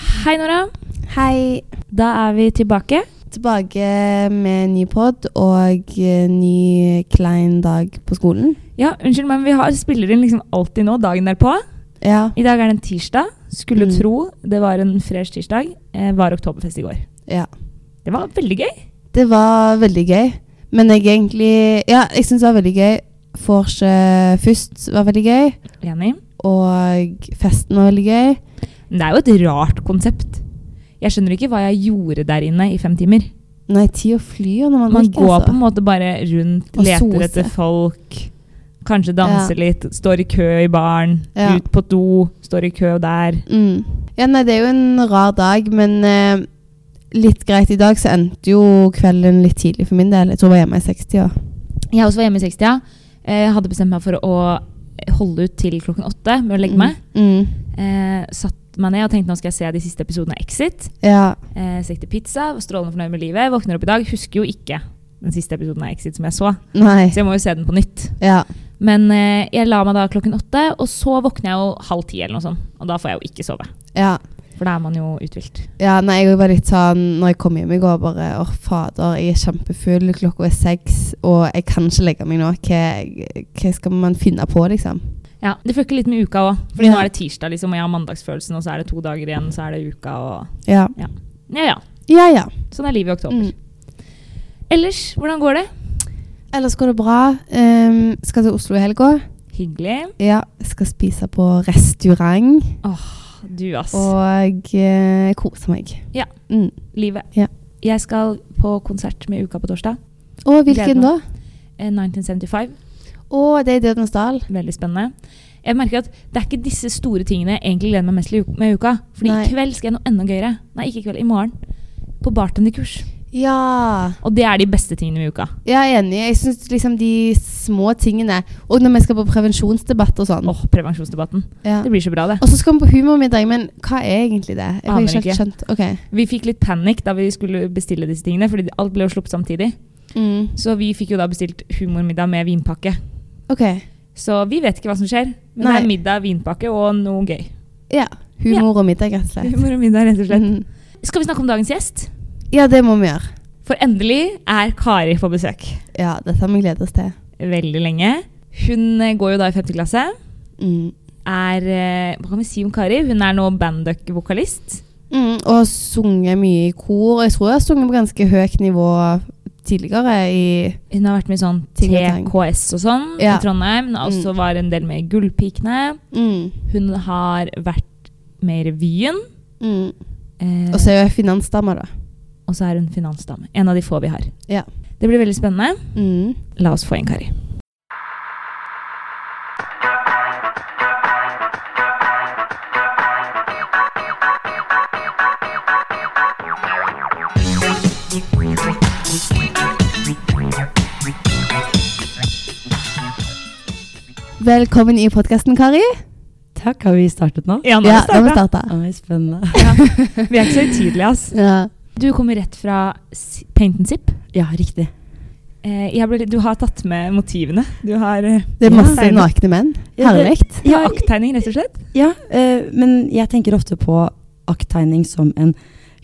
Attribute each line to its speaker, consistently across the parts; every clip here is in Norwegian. Speaker 1: Hei, Nora.
Speaker 2: Hei.
Speaker 1: Da er vi tilbake.
Speaker 2: Tilbake med ny pod og eh, ny klein dag på skolen.
Speaker 1: Ja, unnskyld, men vi har, spiller inn liksom alltid nå, dagen derpå.
Speaker 2: Ja.
Speaker 1: I dag er det en tirsdag. Skulle
Speaker 2: Mm.
Speaker 1: tro det var en fresh tirsdag. Eh, var oktoberfest i går.
Speaker 2: ja.
Speaker 1: Det var veldig gøy.
Speaker 2: Det var veldig gøy. Men jeg egentlig Ja, jeg syns det var veldig gøy. Vorset først var veldig gøy.
Speaker 1: Enig.
Speaker 2: Og festen var veldig gøy.
Speaker 1: Men det er jo et rart konsept. Jeg skjønner ikke hva jeg gjorde der inne i fem timer.
Speaker 2: Nei, tida flyr når man,
Speaker 1: Man
Speaker 2: drikker,
Speaker 1: går
Speaker 2: altså.
Speaker 1: på en måte bare rundt,
Speaker 2: Og
Speaker 1: leter
Speaker 2: sose.
Speaker 1: etter folk. Kanskje danser
Speaker 2: Ja.
Speaker 1: litt, står i kø i baren,
Speaker 2: Ja.
Speaker 1: ut på do, står i kø der.
Speaker 2: Mm. Ja, nei, det er jo en rar dag, men eh, litt greit i dag, så endte jo kvelden litt tidlig for min del. Jeg tror jeg var hjemme i 60-åra.
Speaker 1: Jeg også var hjemme i 60-a. Eh, hadde bestemt meg for å holde ut til klokken åtte med å legge meg.
Speaker 2: Mm.
Speaker 1: Eh, satt meg ned og tenkte nå skal jeg se de siste episodene av Exit.
Speaker 2: Ja.
Speaker 1: Eh, Stekte pizza, var strålende fornøyd med livet. Våkner opp i dag, husker jo ikke den siste episoden av Exit som jeg så.
Speaker 2: Nei.
Speaker 1: Så jeg må jo se den på nytt.
Speaker 2: Ja.
Speaker 1: Men eh, jeg la meg da klokken åtte, og så våkner jeg jo halv ti eller noe sånt. Og da får jeg jo ikke sove.
Speaker 2: ja.
Speaker 1: For da er man jo uthvilt.
Speaker 2: Ja, nei, jeg var litt sånn Når jeg kom hjem i går, bare Å, fader, jeg er kjempefull, klokka er seks, og jeg kan ikke legge meg nå. Hva, hva skal man finne på, liksom?
Speaker 1: Ja, Det følger litt med uka òg. Fordi nå
Speaker 2: Ja.
Speaker 1: er det tirsdag, liksom, og jeg har mandagsfølelsen, og så er det to dager igjen, så er det uka, og
Speaker 2: Ja.
Speaker 1: Ja ja.
Speaker 2: Ja, ja.
Speaker 1: Sånn er livet i oktober.
Speaker 2: Mm.
Speaker 1: Ellers, hvordan går det?
Speaker 2: Ellers går det bra. Ehm, skal til Oslo i helga.
Speaker 1: Hyggelig.
Speaker 2: Ja, skal spise på restaurant
Speaker 1: Du, ass.
Speaker 2: og eh, kose meg.
Speaker 1: Ja.
Speaker 2: Mm.
Speaker 1: Livet.
Speaker 2: Ja.
Speaker 1: Jeg skal på konsert med Uka på torsdag.
Speaker 2: Og
Speaker 1: Gleder
Speaker 2: hvilken da?
Speaker 1: eh, 1975.
Speaker 2: Å, det er Dødens dal.
Speaker 1: Veldig spennende. Jeg merker at Det er ikke disse store tingene jeg egentlig gleder meg mest til u- med uka. Fordi
Speaker 2: Nei.
Speaker 1: i kveld skal jeg noe enda gøyere. Nei, ikke i kveld. I morgen. På bartenderkurs.
Speaker 2: Ja.
Speaker 1: Og det er de beste tingene med uka.
Speaker 2: Jeg er enig. Jeg syns liksom de små tingene Og når vi skal på prevensjonsdebatt og sånn.
Speaker 1: Åh, Prevensjonsdebatten.
Speaker 2: Ja.
Speaker 1: Det blir så bra, det.
Speaker 2: Og så skal vi på humormiddag, men hva er egentlig det? Jeg har
Speaker 1: Aner
Speaker 2: ikke helt
Speaker 1: ikke.
Speaker 2: skjønt. Ok.
Speaker 1: Vi fikk litt panikk da vi skulle bestille disse tingene, fordi alt ble jo sluppet samtidig.
Speaker 2: Mm.
Speaker 1: Så vi fikk jo da bestilt humormiddag med vinpakke.
Speaker 2: Ok.
Speaker 1: Så vi vet ikke hva som skjer. Men det
Speaker 2: Nei.
Speaker 1: er middag, vinpakke og noe gøy.
Speaker 2: Ja. Humor og middag, rett og slett.
Speaker 1: Humor og middag, rett og slett.
Speaker 2: Mm.
Speaker 1: Mhm. Skal vi snakke om dagens gjest?
Speaker 2: Ja, det må vi gjøre.
Speaker 1: For endelig er Kari på besøk.
Speaker 2: Ja, dette har vi gledet oss til.
Speaker 1: Veldig lenge. Hun eh, går jo da i femte klasse.
Speaker 2: Mm.
Speaker 1: Er eh, Hva kan vi si om Kari? Hun er nå banduck-vokalist.
Speaker 2: Mm. Og sunget mye i kor. Jeg tror jeg har sunget på ganske høyt nivå tidligere i
Speaker 1: Hun har vært med i sånn
Speaker 2: Ting og tang.
Speaker 1: TKS og sånn
Speaker 2: Ja.
Speaker 1: i Trondheim. Hun har også
Speaker 2: Mm.
Speaker 1: var en del med i Gullpikene.
Speaker 2: mm.
Speaker 1: Hun har vært med i revyen.
Speaker 2: Mm.
Speaker 1: eh,
Speaker 2: Og så er jo jeg finansdame, da.
Speaker 1: og så er hun finansdame. En av de få vi har.
Speaker 2: Ja.
Speaker 1: Det blir veldig spennende.
Speaker 2: Mm.
Speaker 1: La oss få inn Kari.
Speaker 2: Velkommen i podkasten, Kari.
Speaker 3: Takk, har vi startet nå?
Speaker 1: Ja, nå
Speaker 2: Ja,
Speaker 1: har vi
Speaker 2: nå må vi
Speaker 1: starta.
Speaker 2: starte.
Speaker 3: Oi, spennende.
Speaker 1: Vi er ikke så utidelige, ass.
Speaker 2: Ja.
Speaker 1: Du kommer rett fra S- Paint and Zip.
Speaker 3: Ja, riktig.
Speaker 1: Eh, jeg ble, litt- du har tatt med motivene. Du har eh,
Speaker 2: Det er masse
Speaker 1: tegnet-
Speaker 2: nakne menn.
Speaker 3: Ja, det-
Speaker 2: Herlig.
Speaker 1: Ja,
Speaker 3: Ja,
Speaker 1: akttegning, rett og slett.
Speaker 3: ja eh, men jeg tenker ofte på akttegning som en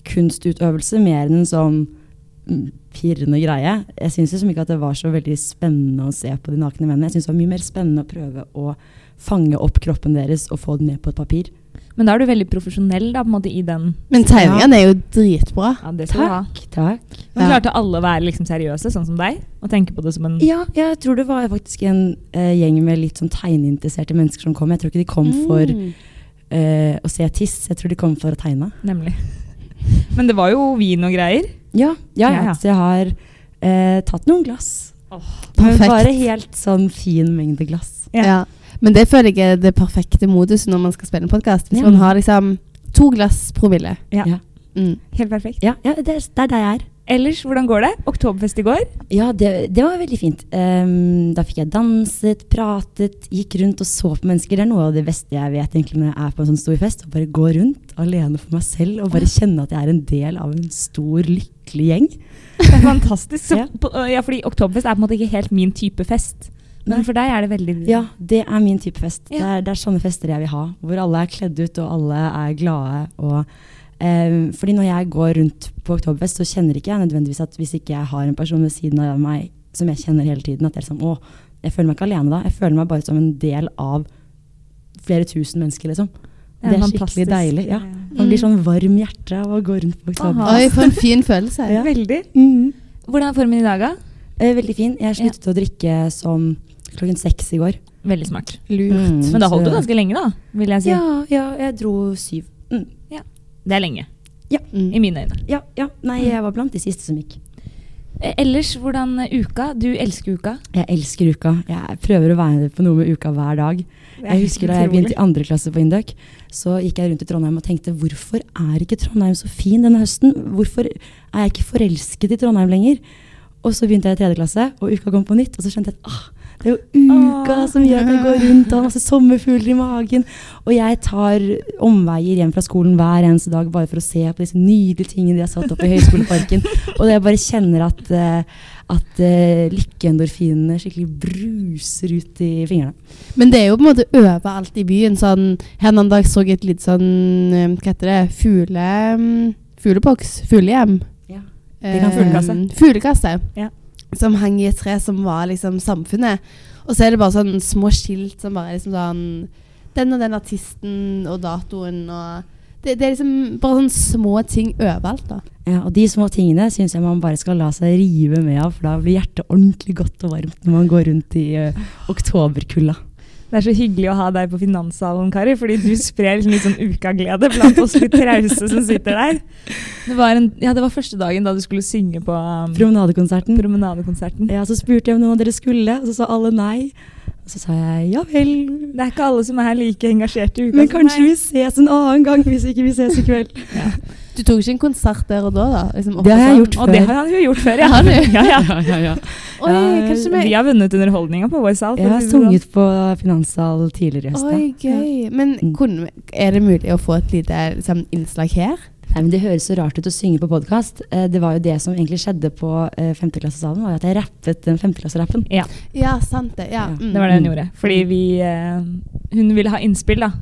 Speaker 3: kunstutøvelse, mer enn en sånn mm, pirrende greie. Jeg syns liksom ikke at det var så veldig spennende å se på de nakne mennene. Jeg syns det var mye mer spennende å prøve å fange opp kroppen deres og få den ned på et papir.
Speaker 1: Men da er du veldig profesjonell da, på en måte, i den.
Speaker 2: Men tegningene er jo dritbra.
Speaker 1: Ja, det skal du ha.
Speaker 3: Takk.
Speaker 1: Men
Speaker 2: Ja.
Speaker 1: klarte alle å være liksom seriøse, sånn som deg? Og tenke på det som en
Speaker 3: Ja, jeg tror det var faktisk en eh, gjeng med litt sånn tegneinteresserte mennesker som kom. Jeg tror ikke de kom for
Speaker 2: Mm.
Speaker 3: eh, å se tiss, jeg tror de kom for å tegne.
Speaker 1: Nemlig. Men det var jo vin og greier.
Speaker 3: Ja,
Speaker 1: Ja,
Speaker 3: ja, ja.
Speaker 1: ja.
Speaker 3: Så jeg har eh, tatt noen glass. Men
Speaker 2: Perfekt.
Speaker 3: bare helt sånn fin mengde glass.
Speaker 1: Ja.
Speaker 2: Ja. Men det føler jeg er det perfekte moduset når man skal spille en podkast. Hvis
Speaker 3: Ja.
Speaker 2: man har liksom to glass promille.
Speaker 1: Ja.
Speaker 3: Ja.
Speaker 2: Mm.
Speaker 1: Helt perfekt.
Speaker 3: Ja, ja det, er, det er der jeg er.
Speaker 1: Ellers, hvordan går det? Oktoberfest i går.
Speaker 3: Ja, det, det var veldig fint. Ehm, da fikk jeg danset, pratet, gikk rundt og så på mennesker. Det er noe av det beste jeg vet egentlig når jeg er på en sånn stor fest. Å bare gå rundt alene for meg selv og bare kjenne at jeg er en del av en stor, lykkelig gjeng.
Speaker 1: Det er fantastisk. Så,
Speaker 3: Ja.
Speaker 1: på- ja, fordi oktoberfest er på en måte ikke helt min type fest. Men
Speaker 3: Nei.
Speaker 1: for deg er det veldig
Speaker 3: Ja, det er min type fest.
Speaker 1: Ja.
Speaker 3: Det, er, det er sånne fester jeg vil ha. Hvor alle er kledd ut, og alle er glade. Og Eh, fordi når jeg går rundt på Oktoberfest, så kjenner ikke jeg nødvendigvis at hvis ikke jeg har en person ved siden av meg som jeg kjenner hele tiden, at jeg, er sånn, Åh, jeg føler meg ikke alene da. Jeg føler meg bare som en del av flere tusen mennesker, liksom.
Speaker 1: Ja,
Speaker 3: det er
Speaker 1: fantastisk.
Speaker 3: skikkelig deilig. Ja.
Speaker 1: Ja.
Speaker 3: Man blir sånn varm i hjertet av å gå rundt på Oktoberfest.
Speaker 1: Aha.
Speaker 2: Oi, for en fin følelse.
Speaker 3: Ja.
Speaker 1: Veldig.
Speaker 3: Mhm.
Speaker 1: Hvordan er formen i dag, da?
Speaker 3: Eh, veldig fin. Jeg sluttet å drikke som klokken seks i går.
Speaker 1: Veldig smart.
Speaker 2: Lurt.
Speaker 1: Men da holdt du
Speaker 3: Så-
Speaker 1: ganske lenge, da. Vil jeg si.
Speaker 3: Ja, ja, jeg dro syv. Mm.
Speaker 1: Det er lenge.
Speaker 2: Mm.
Speaker 1: I mine øyne.
Speaker 3: Ja, ja. Nei, jeg var blant de siste som gikk.
Speaker 1: Eh, Ellers, hvordan eh, uka? Du elsker uka.
Speaker 3: Jeg elsker uka. Jeg prøver å være på noe med uka hver dag. Jeg husker da jeg begynte i andre klasse på Induc, så gikk jeg rundt i Trondheim og tenkte hvorfor er ikke Trondheim så fin denne høsten? Hvorfor er jeg ikke forelsket i Trondheim lenger? Og så begynte jeg i tredje klasse, og uka kom på nytt, og så skjønte jeg at ah, det er jo uka
Speaker 1: Ah.
Speaker 3: som gjør at jeg går rundt og har masse sommerfugler i magen. Og jeg tar omveier hjem fra skolen hver eneste dag bare for å se på disse nydelige tingene de har satt opp i Høgskoleparken. og jeg bare kjenner at, eh, at eh, lykkeendorfinene skikkelig bruser ut i fingrene.
Speaker 2: Men det er jo på en måte overalt i byen. Sånn, her en annen dag så jeg et litt sånn eh, Hva heter det? Fugle... Fugleboks? Fuglehjem?
Speaker 3: Ja. Det kan
Speaker 2: Eh,
Speaker 3: fuglekasse.
Speaker 2: fuglekasse.
Speaker 3: Ja.
Speaker 2: Som hang i et tre som var liksom samfunnet. Og så er det bare sånn små skilt som bare er liksom sånn Den og den artisten og datoen og det, det er liksom bare sånne små ting overalt, da.
Speaker 3: Ja, og de små tingene syns jeg man bare skal la seg rive med av, for da blir hjertet ordentlig godt og varmt når man går rundt i eh, oktoberkulda.
Speaker 1: Det er så hyggelig å ha deg på finanssalen, Kari, fordi du sprer liksom litt sånn ukaglede blant oss litt trause som sitter der. Det var, en, ja, det var første dagen da du skulle synge på um,
Speaker 3: Promenadekonserten.
Speaker 1: promenadekonserten.
Speaker 3: Ja, så spurte jeg om noen av dere skulle, og så sa alle nei. Og så sa jeg ja vel,
Speaker 1: Det er ikke alle som er like engasjert i uka
Speaker 3: men
Speaker 1: som
Speaker 3: kanskje
Speaker 1: deg.
Speaker 3: vi ses en annen gang hvis ikke vi ses i kveld.
Speaker 2: Du tok ikke en konsert der og da, da? Liksom oppe
Speaker 3: Det har jeg
Speaker 2: sånn.
Speaker 3: gjort
Speaker 1: Og det
Speaker 3: før.
Speaker 1: har han jo gjort før, ja.
Speaker 2: Har du?
Speaker 1: ja, ja.
Speaker 3: ja, ja.
Speaker 2: Oi,
Speaker 3: Ja,
Speaker 2: Eh, kanskje vi
Speaker 1: Vi har vunnet underholdninga på vår sal. for
Speaker 3: Jeg
Speaker 1: å
Speaker 3: har
Speaker 1: si det sånn.
Speaker 3: sunget på Finanssal tidligere i høst.
Speaker 2: Oi, gøy. Men
Speaker 3: Mm.
Speaker 2: kunne, vi- er det mulig å få et lite liksom, innslag her?
Speaker 3: Nei, men Det høres så rart ut å synge på podkast. Det var jo det som egentlig skjedde på eh, femteklassesalen, var jo at jeg rappet den femteklasserappen.
Speaker 1: Ja,
Speaker 2: Ja, sant det. Ja.
Speaker 3: Ja,
Speaker 1: det
Speaker 2: Mm.
Speaker 1: var det hun gjorde. Fordi vi eh, Hun ville ha innspill, da.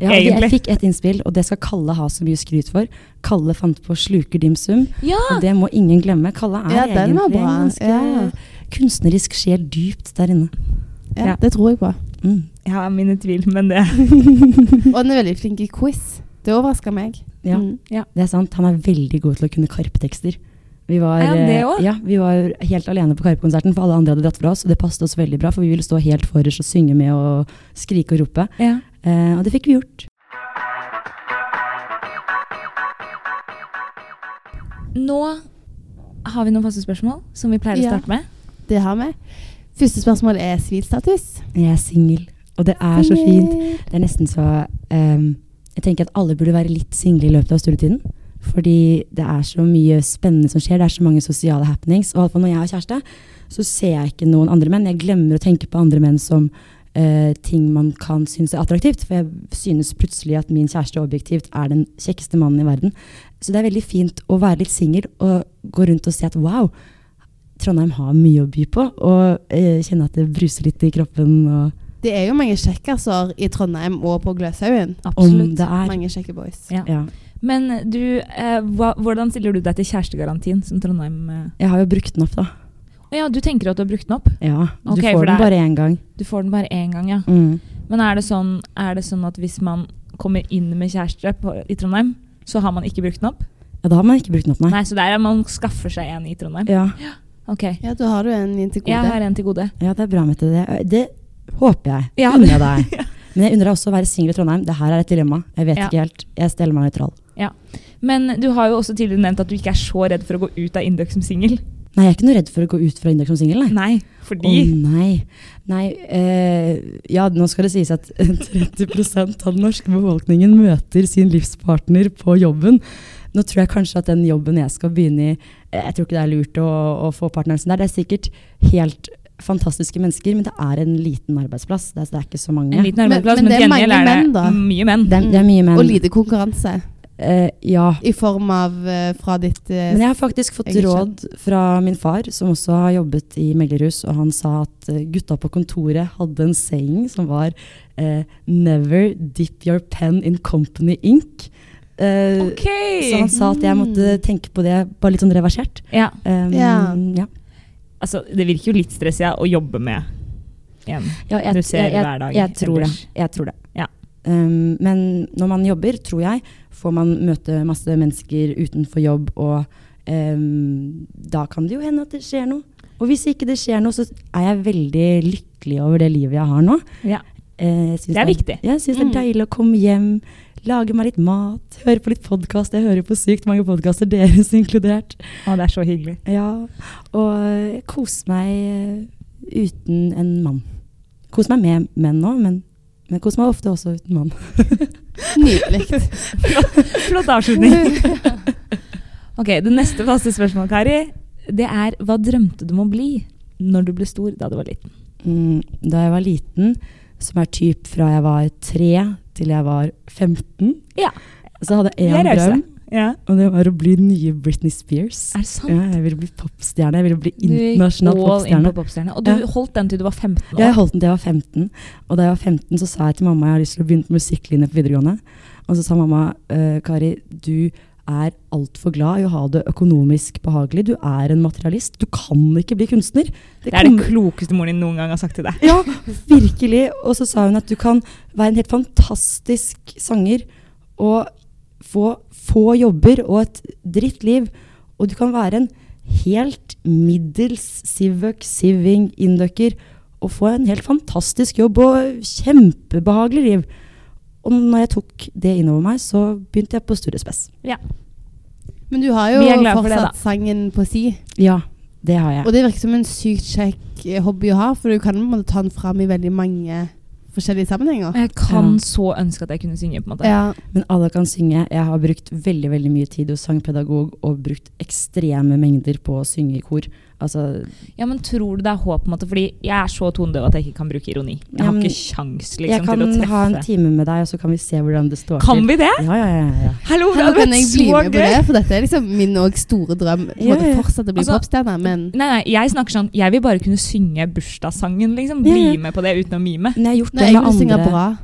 Speaker 3: Ja, og jeg fikk et innspill, og det skal Kalle ha så mye skryt for. Kalle fant på 'Sluker dimsum',
Speaker 1: Ja!
Speaker 3: og det må ingen glemme. Kalle er
Speaker 2: Ja, den var
Speaker 3: egentlig
Speaker 2: bra.
Speaker 3: en ganske
Speaker 2: Ja.
Speaker 3: kunstnerisk sjel dypt der inne.
Speaker 2: Ja,
Speaker 1: Ja.
Speaker 2: det tror jeg på.
Speaker 3: Mm.
Speaker 1: Jeg har mine tvil, men det
Speaker 2: Og den er veldig flink i quiz. Det overrasker meg.
Speaker 3: Ja,
Speaker 2: Mm.
Speaker 3: det er sant. Han er veldig god til å kunne karptekster. Vi var,
Speaker 1: Er han
Speaker 3: eh,
Speaker 1: det også?
Speaker 3: ja, vi var helt alene på Karp-konserten, for alle andre hadde dratt fra oss. Og det passet oss veldig bra, for vi ville stå helt forrest og synge med og skrike og rope.
Speaker 1: ja.
Speaker 3: Eh, og det fikk vi gjort.
Speaker 1: Nå har vi noen faste spørsmål som vi pleier å
Speaker 2: Ja.
Speaker 1: starte med.
Speaker 2: Det har vi. Første spørsmål er sivilstatus.
Speaker 3: Jeg er singel, og det er så fint.
Speaker 2: Singel.
Speaker 3: Det er nesten så ehm, Jeg tenker at alle burde være litt single i løpet av studietiden. Fordi det er så mye spennende som skjer, det er så mange sosiale happenings. Og i hvert fall når jeg har kjæreste, så ser jeg ikke noen andre menn. Jeg glemmer å tenke på andre menn som eh, ting man kan synes er attraktivt. For jeg synes plutselig at min kjæreste objektivt er den kjekkeste mannen i verden. Så det er veldig fint å være litt singel og gå rundt og si at wow, Trondheim har mye å by på. Og eh, kjenne at det bruser litt i kroppen. Og
Speaker 2: Det er jo mange kjekkaser i Trondheim og på Gløshaugen.
Speaker 3: om
Speaker 1: Absolutt.
Speaker 3: det er
Speaker 2: Mange kjekke boys.
Speaker 1: Ja.
Speaker 3: ja,
Speaker 1: Men du, eh, hva, hvordan stiller du deg til kjærestegarantien som Trondheim eh?
Speaker 3: Jeg har jo brukt den opp, da.
Speaker 1: Å Ja, du tenker at du har brukt den opp?
Speaker 3: Ja,
Speaker 1: Ok,
Speaker 3: du
Speaker 1: for
Speaker 3: får
Speaker 1: det
Speaker 3: den
Speaker 1: er-
Speaker 3: bare én gang.
Speaker 1: Du får den bare én gang, ja.
Speaker 3: Mm.
Speaker 1: Men er det sånn, er det sånn at hvis man kommer inn med kjæreste på, i Trondheim, så har man ikke brukt den opp?
Speaker 3: Ja, da har man ikke brukt den opp, nei.
Speaker 1: Nei, så der er man skaffer seg en i Trondheim.
Speaker 3: Ja.
Speaker 1: Ok.
Speaker 2: Ja, da har du en inn til
Speaker 1: Jeg
Speaker 2: gode.
Speaker 1: har en til gode.
Speaker 3: ja, det er bra, Mette. Det, det håper jeg.
Speaker 1: Ja.
Speaker 3: Unner jeg deg. Men jeg unner deg også å være singel i Trondheim. Det her er et dilemma. Jeg vet
Speaker 1: Ja.
Speaker 3: ikke helt. Jeg steller meg nøytral.
Speaker 1: Men du har jo også tidligere nevnt at du ikke er så redd for å gå ut av Induc som singel.
Speaker 3: Nei, jeg er ikke noe redd for å gå ut fra Indøk som singel, nei.
Speaker 1: Nei,
Speaker 3: Å
Speaker 1: fordi
Speaker 3: nei. nei eh, ja, nå skal det sies at 30 av den norske befolkningen møter sin livspartner på jobben. Nå tror jeg kanskje at den jobben jeg skal begynne i eh, Jeg tror ikke det er lurt å, å få partneren sin der. Det er sikkert helt fantastiske mennesker, men det er en liten arbeidsplass. Det er, det er ikke så mange.
Speaker 1: En liten
Speaker 2: Men-
Speaker 1: arbeidsplass,
Speaker 2: men
Speaker 1: men,
Speaker 2: det er
Speaker 1: til
Speaker 2: mange
Speaker 1: gjengjeld er det
Speaker 2: menn, da.
Speaker 1: mye menn.
Speaker 3: det, er, det er mye menn.
Speaker 2: Og lite konkurranse
Speaker 3: Eh, ja.
Speaker 2: i form av eh, fra ditt eh,
Speaker 3: Men jeg har faktisk fått
Speaker 2: Jeg er
Speaker 3: råd fra min far, som også har jobbet i meglerhus, og han sa at eh, gutta på kontoret hadde en saying som var eh, Never dip your pen in company ink. Eh,
Speaker 1: Ok!
Speaker 3: Så han sa at jeg måtte tenke på det bare litt sånn reversert.
Speaker 1: Ja,
Speaker 2: Mm.
Speaker 3: Um,
Speaker 2: Ja.
Speaker 3: ja.
Speaker 1: altså, det virker jo litt stress jeg, å jobbe med en
Speaker 3: Ja, jeg,
Speaker 1: du ser
Speaker 3: jeg, jeg,
Speaker 1: hver dag.
Speaker 3: jeg tror det.
Speaker 1: ellers.
Speaker 3: Jeg tror det.
Speaker 1: Ja.
Speaker 3: Um, men når man jobber, tror jeg, får man møte masse mennesker utenfor jobb, og um, da kan det jo hende at det skjer noe. Og hvis ikke det skjer noe, så er jeg veldig lykkelig over det livet jeg har nå.
Speaker 1: Ja.
Speaker 3: Eh, jeg synes
Speaker 1: Det er viktig.
Speaker 3: Jeg syns det er
Speaker 2: Mm.
Speaker 3: deilig å komme hjem, lage meg litt mat, høre på litt podkast. Jeg hører på sykt mange podkaster, deres inkludert.
Speaker 1: Å, det er så hyggelig.
Speaker 3: Ja, og eh, kose meg eh, uten en mann. Kose meg med menn òg, men, men kose meg ofte også uten mann.
Speaker 2: Nydelig.
Speaker 1: Flott avslutning. ok, Det neste faste spørsmålet, Kari, det er hva drømte du om å bli når du ble stor da du var liten?
Speaker 3: Mm, Da jeg var liten, som er typ fra jeg var tre til jeg var 15,
Speaker 1: Ja.
Speaker 3: så hadde jeg
Speaker 1: Jeg
Speaker 3: én
Speaker 1: rauser.
Speaker 3: drøm,
Speaker 1: Ja.
Speaker 3: og det var å bli den nye Britney Spears.
Speaker 1: Er det sant?
Speaker 3: Ja, jeg ville bli popstjerne. Jeg ville bli
Speaker 1: Du gikk
Speaker 3: internasjonal
Speaker 1: all in
Speaker 3: popstjerne.
Speaker 1: på popstjerne. Og du
Speaker 3: Ja.
Speaker 1: holdt den til du var 15 år.
Speaker 3: Ja, jeg holdt den til jeg var 15. Og da jeg var 15, så sa jeg til mamma jeg har lyst til å begynne på musikklinje på videregående. Og så sa mamma «Eh, Kari, du er altfor glad i å ha det økonomisk behagelig. Du er en materialist. Du kan ikke bli kunstner.
Speaker 1: det er den klokeste moren din noen gang har sagt til deg.
Speaker 3: Ja, virkelig. Og så sa hun at du kan være en helt fantastisk sanger og få få jobber og et dritt liv. Og du kan være en helt middels sivøk, siving, inducker og få en helt fantastisk jobb og kjempebehagelig liv. Og når jeg tok det innover meg, så begynte jeg på Studiespes.
Speaker 2: Men du har jo
Speaker 1: Vi er glad for det,
Speaker 2: fortsatt sangen på si.
Speaker 3: Ja, det har jeg.
Speaker 2: Og det virker som en sykt kjekk eh, hobby å ha, for du kan på en måte ta den fram i veldig mange forskjellige sammenhenger.
Speaker 1: Jeg kan
Speaker 3: Ja.
Speaker 1: så ønske at jeg kunne synge. på en måte.
Speaker 2: Ja.
Speaker 3: Men alle kan synge. Jeg har brukt veldig veldig mye tid hos sangpedagog og brukt ekstreme mengder på å synge i kor. Altså,
Speaker 1: Ja, men tror du det er håp? på en måte? Fordi jeg er så tonedøv at jeg ikke kan bruke ironi. Jeg
Speaker 3: Ja,
Speaker 1: har
Speaker 3: men
Speaker 1: ikke sjans
Speaker 3: jeg
Speaker 1: liksom,
Speaker 3: kan
Speaker 1: til å
Speaker 3: ha en
Speaker 1: treffe.
Speaker 3: time med deg, og så kan vi se hvordan det står
Speaker 1: Kan
Speaker 3: til.
Speaker 1: vi det?
Speaker 3: Ja, ja, ja, ja.
Speaker 1: Hallo, det hadde
Speaker 2: Her kan jeg
Speaker 1: vært
Speaker 2: bli
Speaker 1: så
Speaker 2: med på
Speaker 1: gøy!
Speaker 2: det, for dette er liksom min og store drøm. På en
Speaker 3: Ja,
Speaker 2: måte
Speaker 3: ja.
Speaker 2: fortsatt å bli
Speaker 1: Altså,
Speaker 2: popstjerne, men
Speaker 1: Nei, nei, jeg snakker sånn Jeg vil bare kunne synge bursdagssangen, liksom.
Speaker 3: Ja,
Speaker 1: Bli
Speaker 3: ja.
Speaker 1: med på det uten å mime.
Speaker 3: Men jeg har gjort
Speaker 2: Nei, jeg
Speaker 3: det med
Speaker 2: vil synge
Speaker 3: andre.
Speaker 2: bra.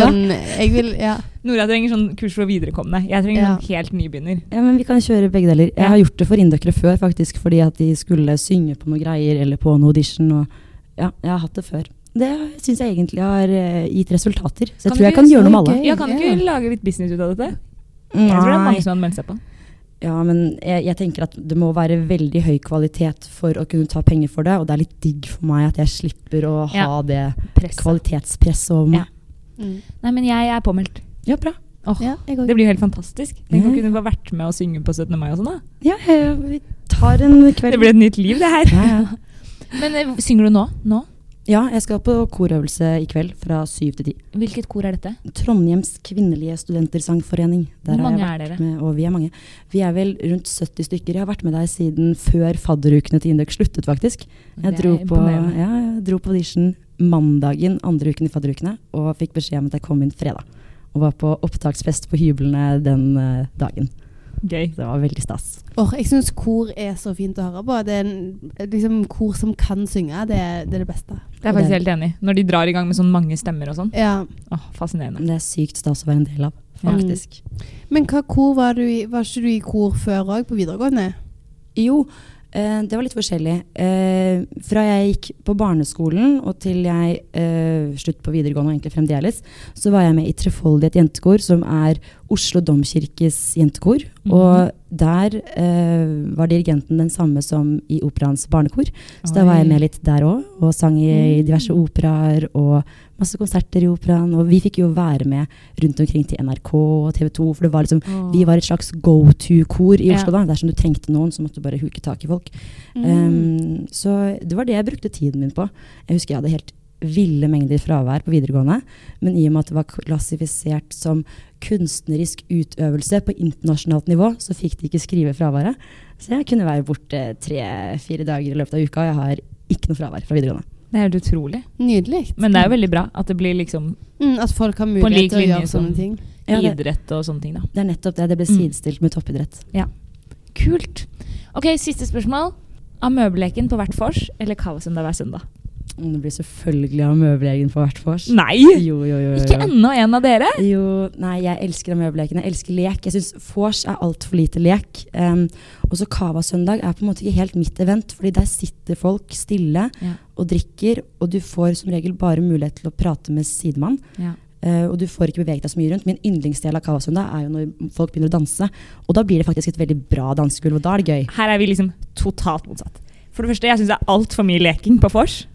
Speaker 2: Sånn, jeg vil, ja.
Speaker 1: Nora trenger sånn kurs for viderekomne. Jeg trenger
Speaker 2: Ja.
Speaker 1: sånn helt nybegynner.
Speaker 3: Ja, men vi kan kjøre begge deler.
Speaker 1: Ja.
Speaker 3: Jeg har gjort det for inndøkkere før, faktisk, fordi at de skulle synge på noen greier eller på en audition. Og ja, jeg har hatt det før. Det syns jeg egentlig har eh, gitt resultater. Så
Speaker 1: Kan
Speaker 3: jeg
Speaker 1: vi sånn?
Speaker 3: tror jeg kan gjøre noe med alle.
Speaker 2: Gøy,
Speaker 1: Ja, kan du ikke
Speaker 2: ja.
Speaker 1: lage litt business ut av dette? Jeg tror det er mange som hadde meldt seg på.
Speaker 3: Ja, men jeg, jeg tenker at det må være veldig høy kvalitet for å kunne ta penger for det, og det er litt digg for meg at jeg slipper å ha
Speaker 1: Ja.
Speaker 3: det
Speaker 1: Press.
Speaker 3: kvalitetspresset over meg.
Speaker 2: Mm.
Speaker 1: Nei, men jeg er påmeldt.
Speaker 3: Ja, bra.
Speaker 1: Åh,
Speaker 2: ja jeg
Speaker 1: Det
Speaker 2: går.
Speaker 1: blir jo helt fantastisk. Tenk å
Speaker 3: Ja.
Speaker 1: kunne få vært med og synge på 17. mai og sånn. da.
Speaker 3: Ja, ja, vi tar en kveld.
Speaker 1: Det blir et nytt liv, det her.
Speaker 3: ja, ja.
Speaker 1: Men eh, synger du nå? Nå?
Speaker 3: ja, jeg skal på korøvelse i kveld fra syv til ti.
Speaker 1: Hvilket kor er dette?
Speaker 3: Trondheims kvinnelige studentersangforening. Der
Speaker 1: Hvor
Speaker 3: har jeg
Speaker 1: mange
Speaker 3: vært
Speaker 1: er dere?
Speaker 3: Med, og vi er mange. Vi er vel rundt 70 stykker. Jeg har vært med deg siden før fadderukene til Indøk sluttet, faktisk. Jeg
Speaker 1: Det er
Speaker 3: dro på,
Speaker 1: imponerende.
Speaker 3: ja, jeg dro på audition mandagen andre uken i fadderukene, og fikk beskjed om at jeg kom inn fredag. Og var på opptaksfest på hyblene den eh, dagen.
Speaker 1: Gøy.
Speaker 3: Det var veldig stas.
Speaker 2: Åh, jeg syns kor er så fint å høre på. Det er en, liksom kor som kan synge. Det er det, er det beste.
Speaker 1: Jeg er faktisk helt enig. Når de drar i gang med sånn mange stemmer og sånn.
Speaker 2: Ja.
Speaker 1: Åh, fascinerende.
Speaker 3: Det er sykt stas å være en del av,
Speaker 1: Ja.
Speaker 3: Mm, faktisk.
Speaker 2: Mm. Men hva kor var du i? Var ikke du i kor før òg, på videregående?
Speaker 3: Jo, eh, det var litt forskjellig. Eh, fra jeg gikk på barneskolen og til jeg eh, slutt på videregående, og egentlig fremdeles, så var jeg med i Trefoldighet jentekor, som er Oslo domkirkes jentekor.
Speaker 1: Mhm.
Speaker 3: Og der eh, var dirigenten den samme som i operaens barnekor. Så da var jeg med litt der òg, og sang i, i diverse operaer og masse konserter i operaen. Og vi fikk jo være med rundt omkring til NRK og TV 2, for det var liksom vi var et slags go to-kor i
Speaker 1: Ja.
Speaker 3: Oslo da. Dersom du trengte noen, så måtte du bare huke tak i folk.
Speaker 1: Mm.
Speaker 3: Um, så det var det jeg brukte tiden min på. Jeg husker jeg hadde helt ville mengder fravær på videregående. Men i og med at det var klassifisert som kunstnerisk utøvelse på internasjonalt nivå, så fikk de ikke skrive fraværet. Så jeg kunne være borte tre-fire dager i løpet av uka, og jeg har ikke noe fravær fra videregående.
Speaker 1: Det er helt utrolig.
Speaker 2: Nydelig.
Speaker 1: Men det er jo veldig bra at det blir liksom
Speaker 2: Mm, at folk har
Speaker 1: På lik
Speaker 2: mulighet til å
Speaker 1: linje
Speaker 2: gjøre
Speaker 1: som-
Speaker 2: sånne ting.
Speaker 3: Ja, det,
Speaker 1: idrett og sånne ting, da.
Speaker 3: det er nettopp det. Det ble
Speaker 1: Mm.
Speaker 3: sidestilt med toppidrett.
Speaker 1: Kult. Ok, siste spørsmål. Amøbeleken på hvert vors eller kavasøndag hver søndag?
Speaker 3: Mm, Det blir selvfølgelig amøbelegen for hvert vors.
Speaker 1: Nei!
Speaker 3: Jo, jo, jo, jo,
Speaker 1: Ikke
Speaker 3: jo.
Speaker 1: enda en av dere!
Speaker 3: Jo, nei, jeg elsker amøbeleken. Jeg elsker lek. Jeg syns vors er altfor lite lek. Um, og så Cava-søndag er på en måte ikke helt mitt event, fordi der sitter folk stille
Speaker 1: Ja.
Speaker 3: og drikker, og du får som regel bare mulighet til å prate med sidemann. Eh, og du får ikke beveget deg så mye rundt. Min yndlingsdel av Kavasunda er jo når folk begynner å danse. Og da blir det faktisk et veldig bra dansegulv, og da er det gøy.
Speaker 1: Her er vi liksom totalt motsatt. For det første, jeg syns det er altfor mye leking på vors.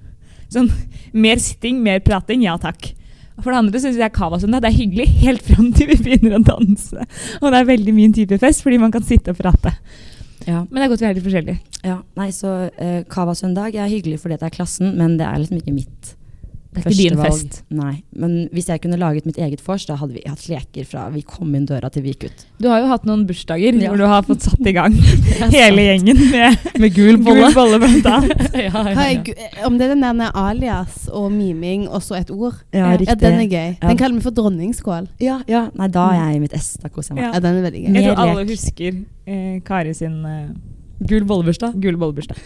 Speaker 1: Sånn, mer sitting, mer prating, ja takk. Og For det andre syns jeg Kavasunda det er hyggelig helt fram til vi begynner å danse. Og det er veldig min type fest, fordi man kan sitte og prate.
Speaker 3: Ja.
Speaker 1: Men det er godt vi er litt forskjellige.
Speaker 3: Nei, så eh, Kavasøndag er hyggelig fordi det er klassen, men det er liksom ikke mitt
Speaker 1: Det er ikke din
Speaker 3: førstevalg.
Speaker 1: fest.
Speaker 3: Nei. Men hvis jeg kunne laget mitt eget vors, da hadde vi hatt leker fra vi kom inn døra til vi gikk ut.
Speaker 1: Du har jo hatt noen bursdager
Speaker 3: Ja.
Speaker 1: hvor du har fått satt i gang hele gjengen med
Speaker 3: Med gul
Speaker 1: gul bolle, blant annet.
Speaker 2: Hva er, gu- eh, om det er den der med alias og miming og så et ord
Speaker 3: Ja,
Speaker 1: Ja, Mm.
Speaker 3: riktig.
Speaker 2: Ja, den er gøy.
Speaker 3: Ja.
Speaker 2: Den kaller vi for dronningskål.
Speaker 3: ja, ja. Nei, da er jeg i mitt ess. Da koser jeg meg.
Speaker 1: Ja.
Speaker 2: Ja, den er veldig gøy.
Speaker 1: Jeg
Speaker 3: Mer
Speaker 1: tror alle
Speaker 3: lek.
Speaker 1: husker eh, Kari sin eh,
Speaker 3: Gul bollebursdag.
Speaker 1: gule bollebursdag.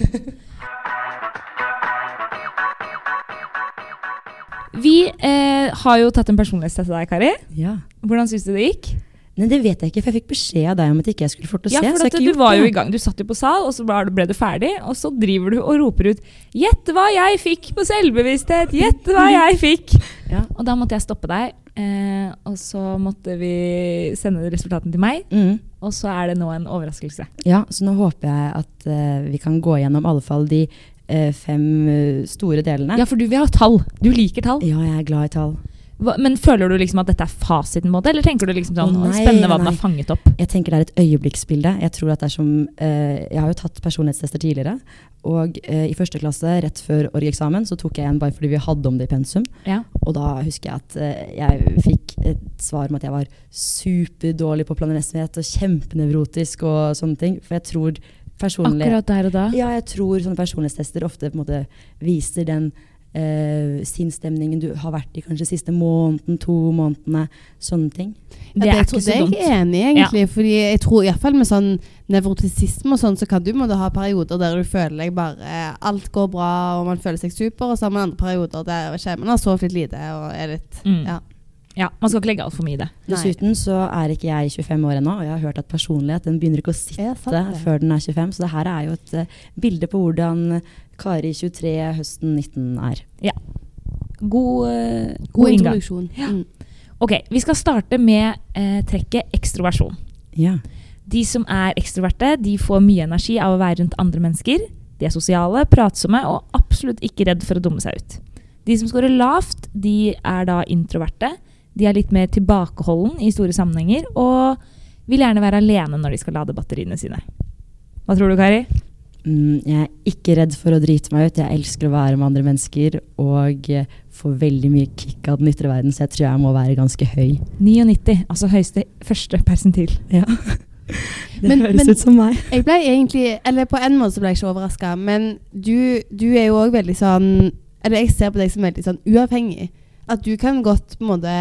Speaker 1: Vi eh, har jo tatt en personlighetstest av deg, Kari.
Speaker 3: Ja.
Speaker 1: Hvordan syns du det gikk?
Speaker 3: Nei, det vet jeg ikke, for jeg fikk beskjed av deg om at ikke jeg skulle forte å
Speaker 1: Ja,
Speaker 3: se.
Speaker 1: for at
Speaker 3: så jeg har ikke
Speaker 1: Du
Speaker 3: gjort
Speaker 1: var
Speaker 3: det.
Speaker 1: jo i gang. Du satt jo på sal, og så var du- ble du ferdig. Og så driver du og roper ut 'Gjett hva jeg fikk på selvbevissthet! Gjett hva jeg fikk!'
Speaker 3: Ja.
Speaker 1: Og da måtte jeg stoppe deg, eh, og så måtte vi sende resultatene til meg.
Speaker 3: Mm.
Speaker 1: Og så er det nå en overraskelse.
Speaker 3: Ja, så nå håper jeg at eh, vi kan gå gjennom alle fall de eh, fem eh, store delene.
Speaker 1: Ja, for du vil ha tall. Du liker tall.
Speaker 3: Ja, jeg er glad i tall.
Speaker 1: Hva, men føler du liksom at dette er fasiten, på en måte, eller tenker du liksom sånn
Speaker 3: Å, nei,
Speaker 1: spennende hva den
Speaker 3: nei.
Speaker 1: har fanget opp?
Speaker 3: Jeg tenker det er et øyeblikksbilde. Jeg tror at det er som eh, Jeg har jo tatt personlighetstester tidligere. Og eh, i første klasse, rett før org-eksamen, så tok jeg en bare fordi vi hadde om det i pensum.
Speaker 1: Ja.
Speaker 3: Og da husker jeg at eh, jeg fikk et svar om at jeg var superdårlig på planrettsomhet og kjempenevrotisk og sånne ting. For jeg tror personlig
Speaker 1: Akkurat der og da.
Speaker 3: Ja, jeg tror sånne personlighetstester ofte på en måte viser den eh, sinnsstemningen du har vært i kanskje siste måneden, to månedene, sånne ting.
Speaker 2: Ja,
Speaker 1: Det er
Speaker 2: tror-
Speaker 1: ikke så dumt.
Speaker 2: Det er jeg enig i, egentlig. Fordi jeg tror i hvert fall med sånn nevrotisisme og sånn, så kan du måtte ha perioder der du føler deg bare Alt går bra, og man føler seg super, og så har man andre perioder der ok, man har sovet litt lite og er litt
Speaker 1: Mm.
Speaker 2: Ja.
Speaker 1: ja, Man skal ikke legge altfor mye i det.
Speaker 2: Nei.
Speaker 3: Dessuten så er ikke jeg 25 år ennå, og jeg har hørt at personlighet den begynner ikke å sitte
Speaker 2: Er sant det?
Speaker 3: før den er 25, så det her er jo et eh, bilde på hvordan Kari 23 høsten 19 er.
Speaker 1: God, eh,
Speaker 2: God
Speaker 1: god inngang.
Speaker 2: introduksjon.
Speaker 1: Ja.
Speaker 2: Mm.
Speaker 1: Ok, Vi skal starte med eh, trekket ekstroversjon.
Speaker 3: Ja.
Speaker 1: De som er ekstroverte, de får mye energi av å være rundt andre mennesker. De er sosiale, pratsomme og absolutt ikke redd for å dumme seg ut. De som scorer lavt, de er da introverte. De er litt mer tilbakeholden i store sammenhenger og vil gjerne være alene når de skal lade batteriene sine. Hva tror du, Kari?
Speaker 3: Mm, jeg er ikke redd for å drite meg ut. Jeg elsker å være med andre mennesker og eh, får veldig mye kick av den ytre verden, så jeg tror jeg må være ganske høy.
Speaker 1: 99, altså høyeste første persentil.
Speaker 3: Det
Speaker 2: Men-
Speaker 3: høres
Speaker 2: men-
Speaker 3: ut som meg.
Speaker 2: Jeg ble egentlig, eller på en måte så ble jeg ikke overraska, men du, du er jo òg veldig sånn Eller jeg ser på deg som veldig sånn uavhengig. At du kan godt på en måte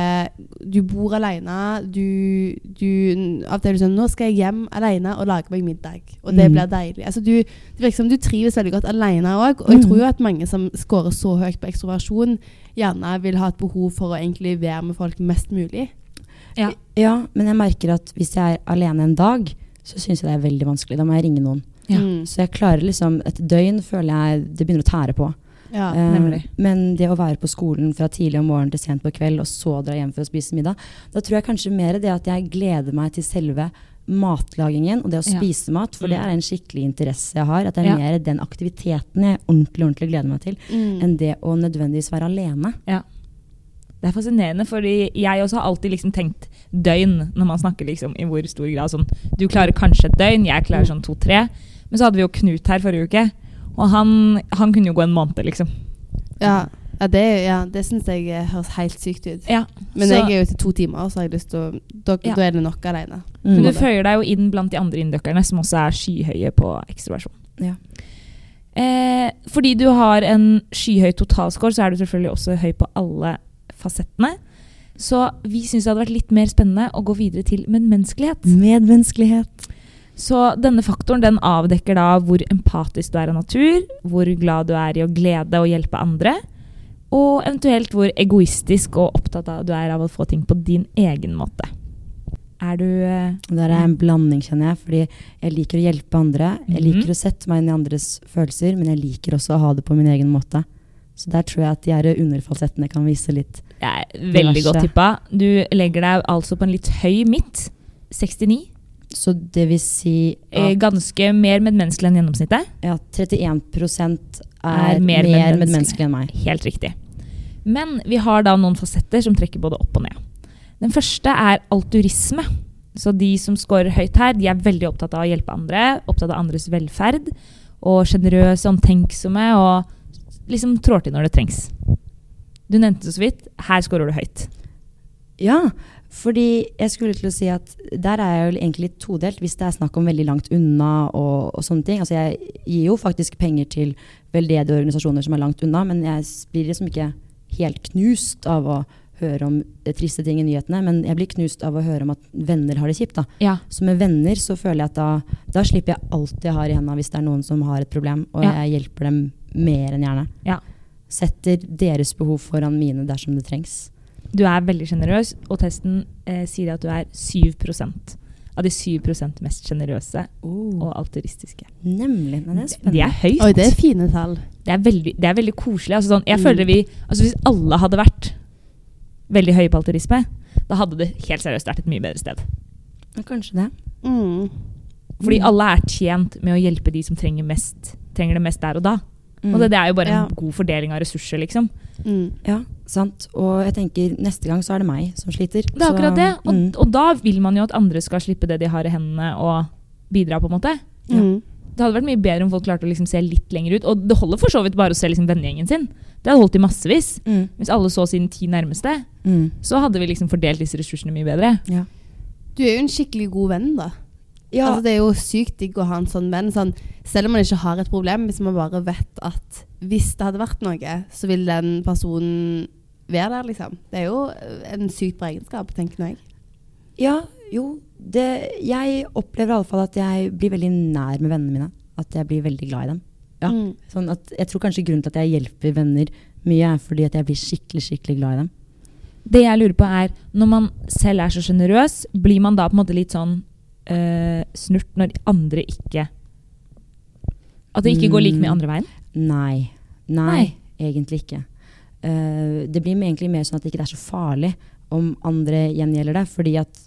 Speaker 2: Du bor aleine. Du, du Av og til er du sånn 'Nå skal jeg hjem aleine og lage meg middag.' Og det
Speaker 3: Mm.
Speaker 2: blir deilig. Altså du, det virker som du trives veldig godt aleine òg. Og jeg
Speaker 3: Mm.
Speaker 2: tror jo at mange som scorer så høyt på ekstroversjon, gjerne vil ha et behov for å egentlig være med folk mest mulig.
Speaker 1: Ja.
Speaker 3: Ja, men jeg merker at hvis jeg er alene en dag, så syns jeg det er veldig vanskelig. Da må jeg ringe noen.
Speaker 1: Ja.
Speaker 2: Mm.
Speaker 3: Så jeg klarer liksom Et døgn føler jeg det begynner å tære på.
Speaker 2: ja.
Speaker 3: Eh,
Speaker 1: nemlig.
Speaker 3: men det å være på skolen fra tidlig om morgenen til sent på kveld, og så dra hjem for å spise middag, da tror jeg kanskje mer det at jeg gleder meg til selve matlagingen og det å
Speaker 1: Ja.
Speaker 3: spise mat, for det
Speaker 1: Mm.
Speaker 3: er en skikkelig interesse jeg har. At det er
Speaker 1: Ja.
Speaker 3: mer den aktiviteten jeg ordentlig, ordentlig gleder meg til,
Speaker 2: Mm.
Speaker 3: enn det å nødvendigvis være alene.
Speaker 1: Det er fascinerende, fordi jeg også har alltid liksom tenkt døgn når man snakker liksom i hvor stor grad sånn Du klarer kanskje et døgn, jeg klarer sånn to-tre. Men så hadde vi jo Knut her forrige uke, og han, han kunne jo gå en måned, liksom.
Speaker 2: Ja, ja det, ja, det syns jeg eh, høres helt sykt ut.
Speaker 1: Ja,
Speaker 2: Men
Speaker 1: så,
Speaker 2: jeg er jo til to timer, så har jeg lyst til å Da,
Speaker 1: Ja.
Speaker 2: da er det nok alene.
Speaker 1: men du
Speaker 3: Mm.
Speaker 2: det.
Speaker 1: føyer deg jo inn blant de andre indøkerne, som også er skyhøye på ekstroversjon.
Speaker 3: Ja.
Speaker 1: Eh, fordi du har en skyhøy totalscore, så er du selvfølgelig også høy på alle fasettene. Så vi syns det hadde vært litt mer spennende å gå videre til medmenneskelighet.
Speaker 3: Medmenneskelighet.
Speaker 1: Så denne faktoren den avdekker da hvor empatisk du er av natur, hvor glad du er i å glede og hjelpe andre, Og eventuelt hvor egoistisk og opptatt av du er av å få ting på din egen måte. Er du eh,
Speaker 3: Der er en blanding, kjenner jeg. Fordi jeg liker å hjelpe andre. Jeg
Speaker 1: Mhm.
Speaker 3: liker å sette meg inn i andres følelser, men jeg liker også å ha det på min egen måte. Så der tror jeg at de her underfalsettene kan vise litt.
Speaker 1: Det er veldig godt
Speaker 3: verste.
Speaker 1: tippa. Du legger deg altså på en litt høy midt. 69.
Speaker 3: Så det vil si
Speaker 1: Eh,
Speaker 3: at
Speaker 1: Ganske mer medmenneskelig enn gjennomsnittet.
Speaker 3: ja, 31 er,
Speaker 1: Er mer
Speaker 3: mer,
Speaker 1: medmenneskelig.
Speaker 3: medmenneskelig enn meg.
Speaker 1: Helt riktig. Men vi har da noen fasetter som trekker både opp og ned. Den første er alturisme. Så de som scorer høyt her, de er veldig opptatt av å hjelpe andre, opptatt av andres velferd, og sjenerøse, omtenksomme og liksom trår til når det trengs. Du nevnte det så vidt. Her scorer du høyt.
Speaker 3: Ja, fordi jeg skulle til å si at der er jeg jo egentlig litt todelt, hvis det er snakk om veldig langt unna og, og sånne ting. Altså jeg gir jo faktisk penger til veldedige organisasjoner som er langt unna, men jeg s- blir liksom ikke helt knust av å høre om eh, triste ting i nyhetene, men jeg blir knust av å høre om at venner har det kjipt. da.
Speaker 1: Ja.
Speaker 3: Så med venner så føler jeg at da, da slipper jeg alt jeg har i hendene hvis det er noen som har et problem, og
Speaker 1: Ja.
Speaker 3: jeg hjelper dem mer enn gjerne.
Speaker 1: Ja.
Speaker 3: Setter deres behov foran mine dersom det trengs.
Speaker 1: Du er veldig sjenerøs, og testen eh, sier at du er 7 av de 7 mest sjenerøse og altruistiske.
Speaker 3: Nemlig. Men det er spennende.
Speaker 1: Det er høyt.
Speaker 2: Oi, det er fine tall.
Speaker 1: Det er veldig, det er veldig koselig. Altså, sånn, jeg
Speaker 2: Mm.
Speaker 1: føler vi, altså, hvis alle hadde vært veldig høye på alturisme, da hadde det helt seriøst vært et mye bedre sted.
Speaker 3: Ja, kanskje det.
Speaker 2: Mm.
Speaker 1: Fordi alle er tjent med å hjelpe de som trenger, mest, trenger det mest der og da.
Speaker 3: Mm.
Speaker 1: Og det, det er jo bare
Speaker 2: Mm. Ja.
Speaker 1: en god fordeling av ressurser, liksom.
Speaker 2: Mm.
Speaker 3: Ja, sant. Og jeg tenker neste gang så er det meg som sliter.
Speaker 1: Det er
Speaker 3: så-
Speaker 1: akkurat det. Og,
Speaker 3: mm.
Speaker 1: og da vil man jo at andre skal slippe det de har i hendene, og bidra, på en måte.
Speaker 3: Ja.
Speaker 2: Mm.
Speaker 1: Det hadde vært mye bedre om folk klarte å liksom se litt lenger ut. Og det holder for så vidt bare å se liksom vennegjengen sin. Det hadde holdt i massevis.
Speaker 3: Mm.
Speaker 1: Hvis alle så sine ti nærmeste,
Speaker 3: Mm.
Speaker 1: så hadde vi liksom fordelt disse ressursene mye bedre.
Speaker 3: Ja.
Speaker 2: Du er jo en skikkelig god venn, da.
Speaker 3: Ja,
Speaker 2: Altså, det er jo sykt digg å ha en sånn venn. Sånn, selv om man ikke har et problem, hvis man bare vet at hvis det hadde vært noe, så vil den personen være der, liksom. Det er jo en sykt bra egenskap, tenker jeg.
Speaker 3: ja, jo. Det, jeg opplever iallfall at jeg blir veldig nær med vennene mine. At jeg blir veldig glad i dem. Ja.
Speaker 2: Mm.
Speaker 3: Sånn at jeg tror kanskje grunnen til at jeg hjelper venner mye, er fordi at jeg blir skikkelig skikkelig glad i dem.
Speaker 1: Det jeg lurer på er, når man selv er så sjenerøs, blir man da på en måte litt sånn eh, snurt når andre ikke At det ikke går like mye andre veien?
Speaker 3: Nei. Mm. Nei,
Speaker 1: Nei.
Speaker 3: egentlig ikke. Eh, det blir egentlig mer sånn at det ikke er så farlig om andre gjengjelder det. Fordi at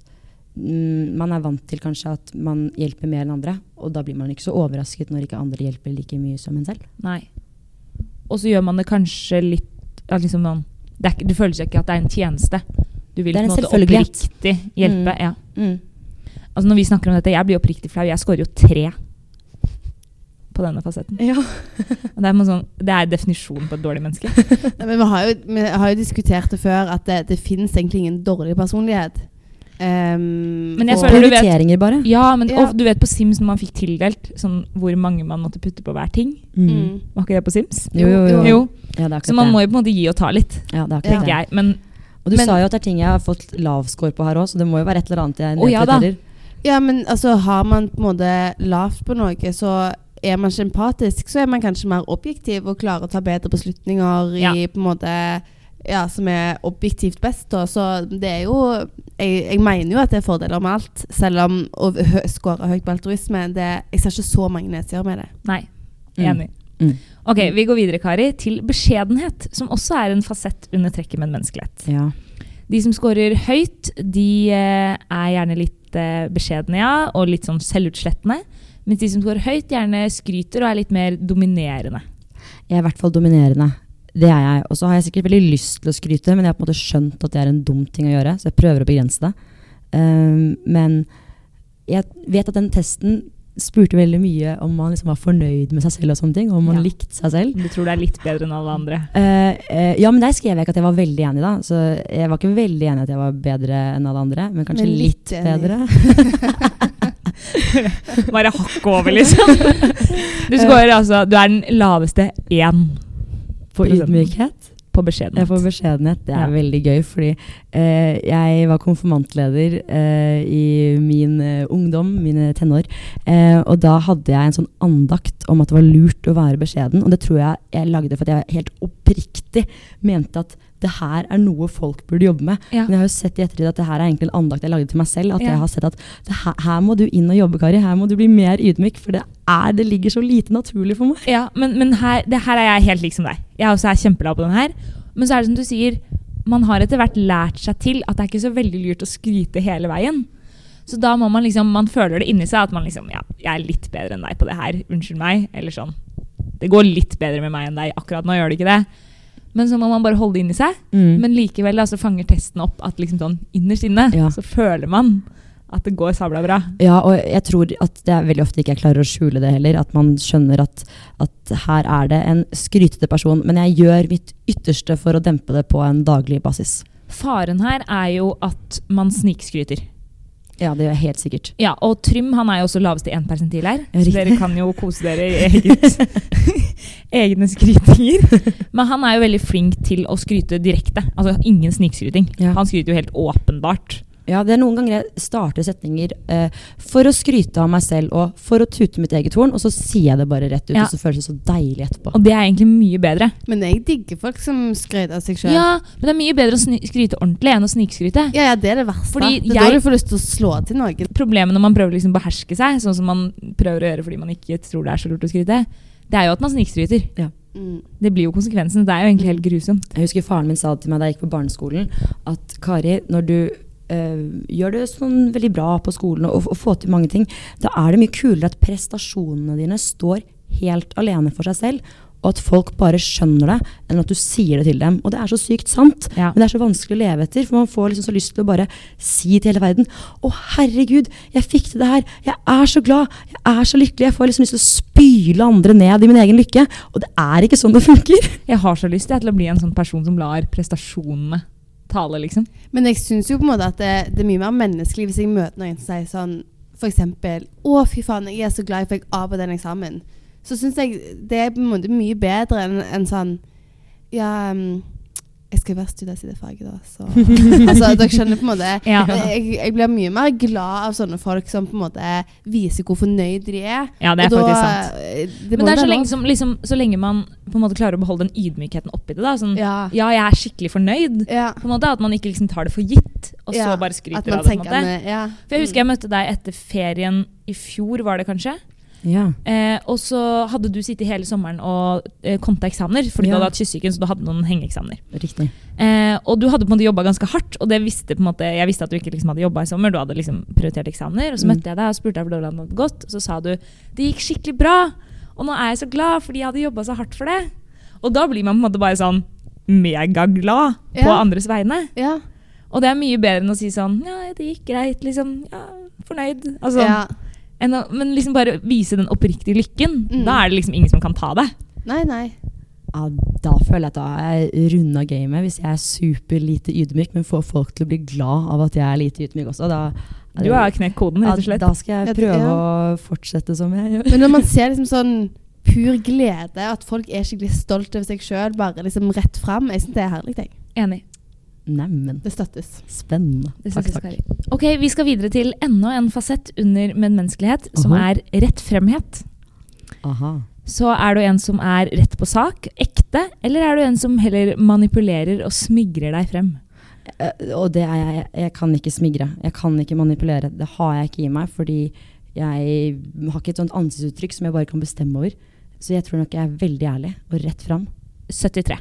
Speaker 3: mm, man er vant til kanskje at man hjelper mer enn andre. Og da blir man ikke så overrasket når ikke andre hjelper like mye som en selv.
Speaker 1: Nei. Og så gjør man det kanskje litt ja, liksom sånn, det, er, ikke- det føles ikke at det er en tjeneste. Du vil på
Speaker 3: Det er
Speaker 1: en
Speaker 3: en
Speaker 1: måte
Speaker 3: selvfølgelighet.
Speaker 1: oppriktig hjelpe.
Speaker 3: Mm.
Speaker 1: Ja. Altså når vi snakker om dette, jeg blir oppriktig flau. Jeg scorer jo tre på denne fasetten.
Speaker 3: Ja.
Speaker 1: Og det, er noe sånn, det er definisjonen på et dårlig menneske.
Speaker 2: Nei, men vi har, jo, vi har jo diskutert det før, at det, det finnes egentlig ingen dårlig personlighet. Ehm,
Speaker 1: Men jeg
Speaker 2: og-
Speaker 1: føler du vet-
Speaker 3: Prioriteringer, bare.
Speaker 1: Ja, men
Speaker 2: Ja.
Speaker 1: og du vet på Sims når man fikk tildelt sånn, hvor mange man måtte putte på hver ting.
Speaker 2: mm.
Speaker 1: Var ikke det på Sims?
Speaker 3: Jo, jo, jo.
Speaker 1: Jo,
Speaker 3: Ja, det er akkurat
Speaker 1: Så man
Speaker 3: det.
Speaker 1: må jo på en måte gi og ta litt,
Speaker 3: ja, det er
Speaker 1: tenker
Speaker 3: akkurat det.
Speaker 1: jeg. Men
Speaker 3: Og du
Speaker 2: Men-
Speaker 3: sa jo at det er ting jeg har fått lav score på her òg, så det må jo være et eller annet jeg
Speaker 1: Å, ja da.
Speaker 3: nedprioriterer.
Speaker 2: Ja, men altså, har man på en måte lavt på noe, så er man ikke empatisk, så er man kanskje mer objektiv og klarer å ta bedre beslutninger i
Speaker 1: Ja.
Speaker 2: på en måte ja, som er objektivt best. Da. Så det er jo jeg, jeg mener jo at det er fordeler med alt, selv om å hø- score høyt på altruisme det, Jeg ser ikke så mange nedsider med det.
Speaker 1: nei,
Speaker 3: Mm.
Speaker 1: enig.
Speaker 3: Mm.
Speaker 1: Ok, Vi går videre Kari, til beskjedenhet, som også er en fasett under trekket med en menneskelighet.
Speaker 3: Mm. Ja.
Speaker 1: De som scorer høyt, de eh, er gjerne litt eh, beskjedne ja, og litt sånn selvutslettende. Mens de som scorer høyt, gjerne skryter og er litt mer dominerende.
Speaker 3: Jeg er i hvert fall dominerende. Det er jeg. Og så har jeg sikkert veldig lyst til å skryte, men jeg har på en måte skjønt at det er en dum ting å gjøre, så jeg prøver å begrense det. Ehm, men jeg vet at den testen spurte veldig mye om man liksom var fornøyd med seg selv og sånne ting, og om man
Speaker 1: Ja.
Speaker 3: likte seg selv.
Speaker 1: Du tror det er litt bedre enn alle andre.
Speaker 3: Eh, eh, ja, men der skrev jeg ikke at jeg var veldig enig, da. Så jeg var ikke veldig enig i at jeg var bedre enn alle andre, men kanskje
Speaker 2: Men litt
Speaker 3: litt,
Speaker 2: enig.
Speaker 3: bedre.
Speaker 1: Bare hakk over, liksom. Du scorer altså Du er den laveste én.
Speaker 3: På
Speaker 1: Prosenten.
Speaker 3: ydmykhet.
Speaker 1: på beskjedenhet.
Speaker 3: Jeg får beskjedenhet. Det er
Speaker 1: Ja.
Speaker 3: veldig gøy, fordi eh, jeg var konfirmantleder eh, i min eh, ungdom, mine tenår. Eh, og da hadde jeg en sånn andakt om at det var lurt å være beskjeden. Og det tror jeg jeg lagde for at jeg helt oppriktig mente at det her er noe folk burde jobbe med.
Speaker 1: Ja.
Speaker 3: Men jeg har jo sett i ettertid at det her er egentlig en andakt jeg lagde til meg selv. At
Speaker 1: Ja.
Speaker 3: jeg har sett at det her, her må du inn og jobbe, Kari. Her må du bli mer ydmyk, for det, er, det ligger så lite naturlig for meg.
Speaker 1: Ja, men, men her, det her er jeg helt lik som deg. Jeg er også er kjempelav på den her. Men så er det som du sier, man har etter hvert lært seg til at det er ikke så veldig lurt å skryte hele veien. Så da må man liksom, man føler det inni seg at man liksom, ja, jeg er litt bedre enn deg på det her, unnskyld meg, eller sånn. Det går litt bedre med meg enn deg akkurat nå, gjør det ikke det? Men så må man bare holde det inni seg.
Speaker 3: Mm.
Speaker 1: Men likevel altså, fanger testen opp at liksom sånn innerst inne
Speaker 3: Ja.
Speaker 1: så føler man at det går sabla bra.
Speaker 3: Ja, og jeg tror at det er veldig ofte ikke jeg klarer å skjule det heller. At man skjønner at, at her er det en skrytete person, men jeg gjør mitt ytterste for å dempe det på en daglig basis.
Speaker 1: Faren her er jo at man snikskryter.
Speaker 3: Ja, det gjør jeg helt sikkert.
Speaker 1: Ja, og Trym han er jo også laveste 1 persentil her,
Speaker 3: Ja,
Speaker 1: så
Speaker 3: riktig.
Speaker 1: dere kan jo kose dere i eget, egne skrytinger. Men han er jo veldig flink til å skryte direkte. Altså ingen snikskryting.
Speaker 3: Ja.
Speaker 1: Han skryter jo helt åpenbart.
Speaker 3: Ja, det er noen ganger jeg starter setninger eh, for å skryte av meg selv og for å tute mitt eget horn, og så sier jeg det bare rett ut,
Speaker 1: Ja.
Speaker 3: og så føles det så deilig etterpå.
Speaker 1: Og det er egentlig mye bedre.
Speaker 2: Men jeg digger folk som skryter av seg sjøl.
Speaker 1: Ja, men det er mye bedre å sny- skryte ordentlig enn å snikskryte.
Speaker 2: Ja, ja, det er det verste.
Speaker 1: Fordi
Speaker 2: det er
Speaker 1: jeg-
Speaker 2: da du får lyst til å slå til noen.
Speaker 1: Problemet når man prøver å liksom beherske seg, sånn som man prøver å gjøre fordi man ikke tror det er så lurt å skryte, det er jo at man snikskryter.
Speaker 2: Mm.
Speaker 1: Det blir jo konsekvensen. Det er jo egentlig helt grusomt.
Speaker 3: Jeg husker faren min sa det til meg da jeg gikk på barneskolen, at Kari, når du eh, gjør det sånn veldig bra på skolen og, og får til mange ting, da er det mye kulere at prestasjonene dine står helt alene for seg selv, og at folk bare skjønner det, enn at du sier det til dem. Og det er så sykt sant,
Speaker 1: Ja.
Speaker 3: men det er så vanskelig å leve etter, for man får liksom så lyst til å bare si til hele verden Å, herregud, jeg fikk til det her, jeg er så glad, jeg er så lykkelig, jeg får liksom lyst til å spyle andre ned i min egen lykke, og det er ikke sånn det funker.
Speaker 1: Jeg har så lyst jeg, til å bli en sånn person som lar prestasjonene tale, liksom.
Speaker 2: Men jeg syns jo på en måte at det, det er mye mer menneskelig hvis jeg møter noen som sier sånn for eksempel, 'Å, fy faen, jeg er så glad jeg fikk A på den eksamen.' Så syns jeg det er på en måte mye bedre enn enn sånn Ja, mm, jeg skal være student i det faget, da, så Altså, dere skjønner på en måte.
Speaker 1: Ja.
Speaker 2: Jeg, jeg blir mye mer glad av sånne folk som på en måte viser hvor fornøyd de er.
Speaker 1: Ja, det er
Speaker 2: Og da,
Speaker 1: faktisk sant.
Speaker 2: eh,
Speaker 1: Men
Speaker 2: Det må
Speaker 1: det er
Speaker 2: være
Speaker 1: så
Speaker 2: lov.
Speaker 1: lenge, som, liksom, så lenge man på en måte klarer å beholde den ydmykheten oppi det. da, sånn, ja.
Speaker 2: Ja.
Speaker 1: jeg er skikkelig fornøyd.
Speaker 2: ja.
Speaker 1: på en måte, At man ikke liksom tar det for gitt, og så
Speaker 2: Ja,
Speaker 1: bare skryter
Speaker 2: At man
Speaker 1: av det. på en
Speaker 2: tenker
Speaker 1: måte.
Speaker 2: at eh, det- Ja. Mm.
Speaker 1: For Jeg husker jeg møtte deg etter ferien i fjor, var det kanskje?
Speaker 3: Ja.
Speaker 1: Eh, og så hadde du sittet hele sommeren og eh, konta eksamener, fordi du
Speaker 3: Ja.
Speaker 1: hadde hatt kyssesyken, så du hadde noen hengeeksamener.
Speaker 3: Riktig.
Speaker 1: Eh, og du hadde på en måte jobba ganske hardt, og det visste på en måte, jeg visste at du ikke liksom hadde jobba i sommer. Du hadde liksom prioritert eksamener. Og så
Speaker 3: Mm.
Speaker 1: møtte jeg deg og spurte deg hvordan det hadde gått, og så sa du det gikk skikkelig bra. Og nå er jeg så glad, fordi jeg hadde jobba så hardt for det. Og da blir man på en måte bare sånn megaglad på
Speaker 2: Ja.
Speaker 1: andres vegne.
Speaker 2: Ja.
Speaker 1: Og det er mye bedre enn å si sånn ja, det gikk greit, liksom. Ja, fornøyd. Altså,
Speaker 2: ja.
Speaker 1: enn å, men liksom bare vise den oppriktige lykken.
Speaker 2: Mm.
Speaker 1: Da er det liksom ingen som kan ta det.
Speaker 2: Nei, nei.
Speaker 3: Ja, da føler jeg at da er jeg runda gamet. Hvis jeg er super lite ydmyk, men får folk til å bli glad av at jeg er lite ydmyk også, da
Speaker 1: Du har knekt koden, rett og slett.
Speaker 3: Ja, Da skal jeg
Speaker 2: Ja, det-
Speaker 3: prøve
Speaker 2: ja.
Speaker 3: å fortsette som jeg gjør.
Speaker 2: Men når man ser liksom sånn pur glede, at folk er skikkelig stolt over seg sjøl, bare liksom rett fram, jeg syns det er herlig. Jeg.
Speaker 1: Enig.
Speaker 3: Neimen,
Speaker 2: Det støttes.
Speaker 3: spennende.
Speaker 1: Det
Speaker 3: Takk,
Speaker 1: synes jeg
Speaker 3: takk.
Speaker 1: skal være. Ok, Vi skal videre til enda en fasett under medmenneskelighet, som
Speaker 3: Aha.
Speaker 1: er rettfremhet.
Speaker 3: Aha.
Speaker 1: Så er du en som er rett på sak, ekte, eller er du en som heller manipulerer og smigrer deg frem?
Speaker 3: Eh, Og det er jeg. jeg- Jeg kan ikke smigre. Jeg kan ikke manipulere. Det har jeg ikke i meg, fordi jeg har ikke et sånt ansiktsuttrykk som jeg bare kan bestemme over. Så jeg tror nok jeg er veldig ærlig og rett fram.
Speaker 1: 73.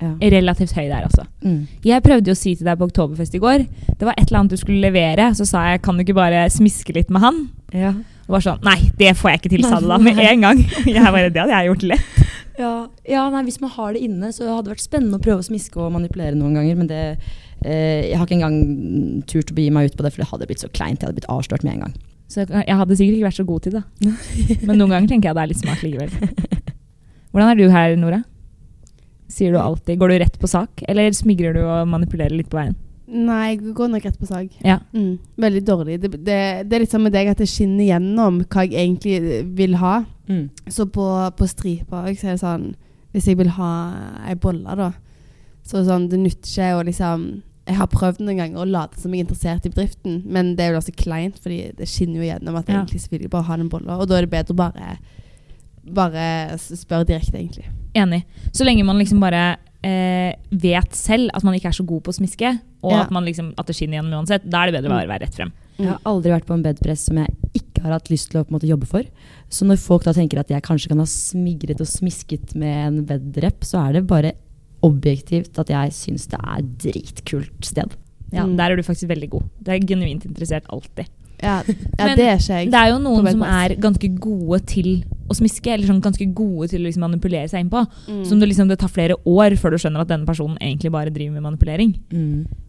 Speaker 3: Ja.
Speaker 1: Relativt høy der, altså.
Speaker 3: Mm.
Speaker 1: Jeg prøvde jo å si til deg på Oktoberfest i går Det var et eller annet du skulle levere, så sa jeg kan du ikke bare smiske litt med han?
Speaker 3: ja.
Speaker 1: Og var sånn Nei, det får jeg ikke til, sa du da med en gang. Jeg bare, Det hadde jeg gjort lett.
Speaker 3: Ja, ja nei, hvis man har det inne, så hadde det vært spennende å prøve å smiske og manipulere noen ganger, men det eh, Jeg har ikke engang turt å begi meg ut på det, for det hadde blitt så kleint. Jeg hadde blitt avslørt med en gang.
Speaker 1: Så jeg jeg hadde sikkert ikke vært så god til det. Men noen ganger tenker jeg det er litt smart likevel. Hvordan er du her, Nora? Sier du alltid, Går du rett på sak, eller smigrer du og manipulerer litt på veien?
Speaker 2: Nei, jeg går nok rett på sak.
Speaker 1: Ja.
Speaker 2: Mm, veldig dårlig. Det, det, det er litt sånn med deg at det skinner gjennom hva jeg egentlig vil ha.
Speaker 1: Mm.
Speaker 2: Mm. Så på, på stripa jeg ser sånn Hvis jeg vil ha ei bolle, da, Så sånn, det nytter ikke å liksom Jeg har prøvd noen ganger å late som jeg er interessert i bedriften, men det er jo da så kleint, fordi det skinner jo gjennom at
Speaker 1: Ja.
Speaker 2: egentlig så vil jeg bare ha den bolla. Og da er det bedre å bare, bare s- spørre direkte, egentlig.
Speaker 1: Enig. Så lenge man liksom bare eh, vet selv at man ikke er så god på å smiske, og
Speaker 2: Ja.
Speaker 1: at, man liksom, at det skinner gjennom uansett, da er det bedre å bare være rett frem.
Speaker 2: Mm.
Speaker 3: Jeg har aldri vært på en bedpress som jeg ikke har hatt lyst til å på en måte, jobbe for. Så når folk da tenker at jeg kanskje kan ha smigret og smisket med en bedrep, så er det bare objektivt at jeg syns det er et dritkult sted.
Speaker 1: Ja,
Speaker 2: Mm.
Speaker 1: Der er du faktisk veldig god. Det er genuint interessert alltid.
Speaker 2: Ja, ja
Speaker 1: Men
Speaker 2: det er ikke jeg.
Speaker 1: Det er jo noen
Speaker 2: På
Speaker 1: som
Speaker 2: bedpress.
Speaker 1: er ganske gode til å smiske, eller sånn ganske gode til å liksom manipulere seg innpå.
Speaker 2: Mm.
Speaker 1: Som det, liksom, det tar flere år før du skjønner at denne personen egentlig bare driver med manipulering.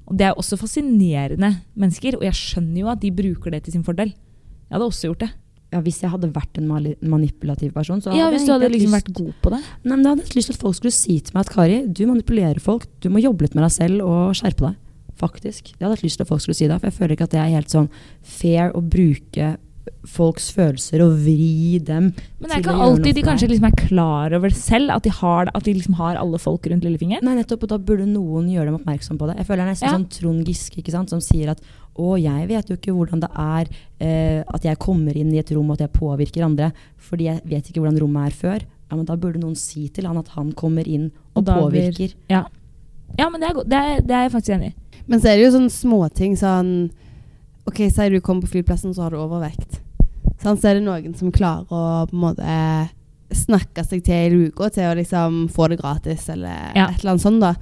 Speaker 1: Og Det er jo også fascinerende mennesker, og jeg skjønner jo at de bruker det til sin fordel. Jeg hadde også gjort det.
Speaker 3: Ja, hvis jeg hadde vært en mali- manipulativ person, så
Speaker 1: Ja, Hvis du hadde
Speaker 3: egentlig
Speaker 1: liksom
Speaker 3: hatt
Speaker 1: vært god på det.
Speaker 3: lyst- Nei, men Da hadde jeg hatt lyst til at folk skulle si til meg at Kari, du manipulerer folk, du må jobbe litt med deg selv og skjerpe deg. Faktisk. Det hadde jeg hatt lyst til at folk skulle si da, for jeg føler ikke at det er helt sånn fair å bruke folks følelser og vri dem
Speaker 1: Men det er ikke
Speaker 3: til å gjøre noe
Speaker 1: alltid de
Speaker 3: for
Speaker 1: kanskje
Speaker 3: deg.
Speaker 1: liksom er klar over selv at de har, at de liksom har alle folk rundt lillefingeren.
Speaker 3: Nei, nettopp, og da burde noen gjøre dem oppmerksom på det. Jeg føler det er nesten
Speaker 1: Ja.
Speaker 3: sånn Trond Giske ikke sant, som sier at å, jeg vet jo ikke hvordan det er eh, at jeg kommer inn i et rom og at jeg påvirker andre, fordi jeg vet ikke hvordan rommet er før. Ja, men Da burde noen si til han at han kommer inn og,
Speaker 1: Og da blir-
Speaker 3: påvirker.
Speaker 1: Ja, ja men det er, go- det, er, det er jeg faktisk enig i.
Speaker 2: Men så er det jo sånne småting sånn OK, si du kommer på flyplassen, så har du overvekt. Sånn, så er det noen som klarer å på en måte snakke seg til i luka til å liksom få det gratis, eller
Speaker 1: Ja.
Speaker 2: et eller annet sånt, da.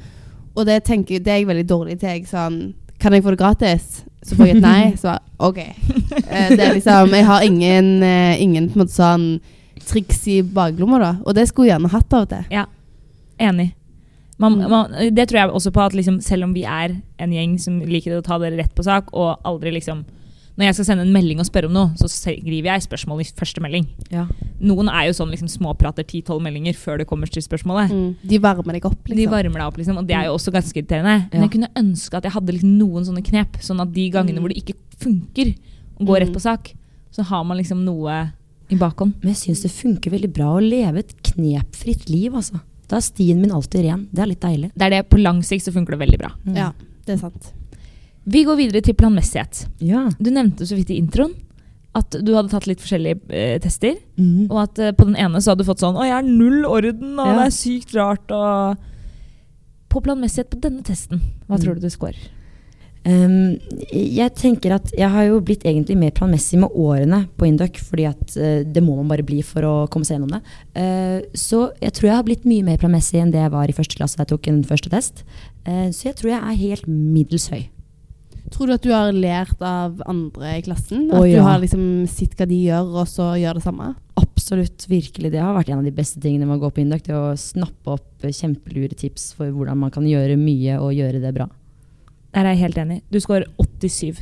Speaker 2: Og det, tenker, jeg- det er jeg veldig dårlig til. Jeg, sånn, kan jeg få det gratis? Så får jeg et nei. Så bare, OK. Eh, Det er liksom, jeg har ingen, eh, ingen på en måte sånn triks i baklomma, da. Og det skulle jeg gjerne hatt av og til.
Speaker 1: Enig. Man,
Speaker 2: Mm.
Speaker 1: man, det tror jeg også på at liksom, selv om vi er en gjeng som liker å ta dere rett på sak, og aldri liksom Når jeg skal sende en melding og spørre om noe, så skriver jeg spørsmål i første melding.
Speaker 3: Ja.
Speaker 1: Noen er jo sånn liksom, småprater 10-12 meldinger før det kommer til spørsmålet.
Speaker 2: Mm. De varmer deg opp, liksom. Mm.
Speaker 1: De varmer deg opp, liksom, og det er jo også ganske irriterende. Men
Speaker 3: Ja.
Speaker 1: jeg kunne ønske at jeg hadde liksom noen sånne knep, sånn at de gangene
Speaker 2: Mm.
Speaker 1: hvor det ikke funker å gå rett
Speaker 2: Mm.
Speaker 1: på sak, så har man liksom noe i bakhånd.
Speaker 3: Men jeg syns det funker veldig bra å leve et knepfritt liv, altså. Da er stien min alltid ren. Det er litt deilig.
Speaker 1: Det er det, På lang sikt så funker det veldig bra.
Speaker 3: Mm.
Speaker 2: Ja, det er sant.
Speaker 1: Vi går videre til planmessighet.
Speaker 3: Ja.
Speaker 1: Du nevnte så vidt i introen at du hadde tatt litt forskjellige eh, tester.
Speaker 3: Mhm.
Speaker 1: Og at eh, på den ene så hadde du fått sånn 'Å, jeg har null orden, og
Speaker 3: Ja.
Speaker 1: det er sykt rart', og På planmessighet på denne testen, hva
Speaker 3: Mm.
Speaker 1: tror du du scorer?
Speaker 3: Um, jeg tenker at jeg har jo blitt egentlig mer planmessig med årene på Induc, fordi at eh, det må man bare bli for å komme seg gjennom det. Eh, så jeg tror jeg har blitt mye mer planmessig enn det jeg var i første klasse da jeg tok en første test. Eh, så jeg tror jeg er helt middels høy.
Speaker 2: Tror du at du har lært av andre i klassen? At
Speaker 3: Å,
Speaker 2: du
Speaker 3: ja.
Speaker 2: har liksom sett hva de gjør, og så gjør det samme?
Speaker 3: Absolutt, virkelig. Det har vært en av de beste tingene med å gå på Induc, det å snappe opp eh, kjempelure tips for hvordan man kan gjøre mye og gjøre det bra.
Speaker 1: Der er jeg helt enig. Du scorer 87.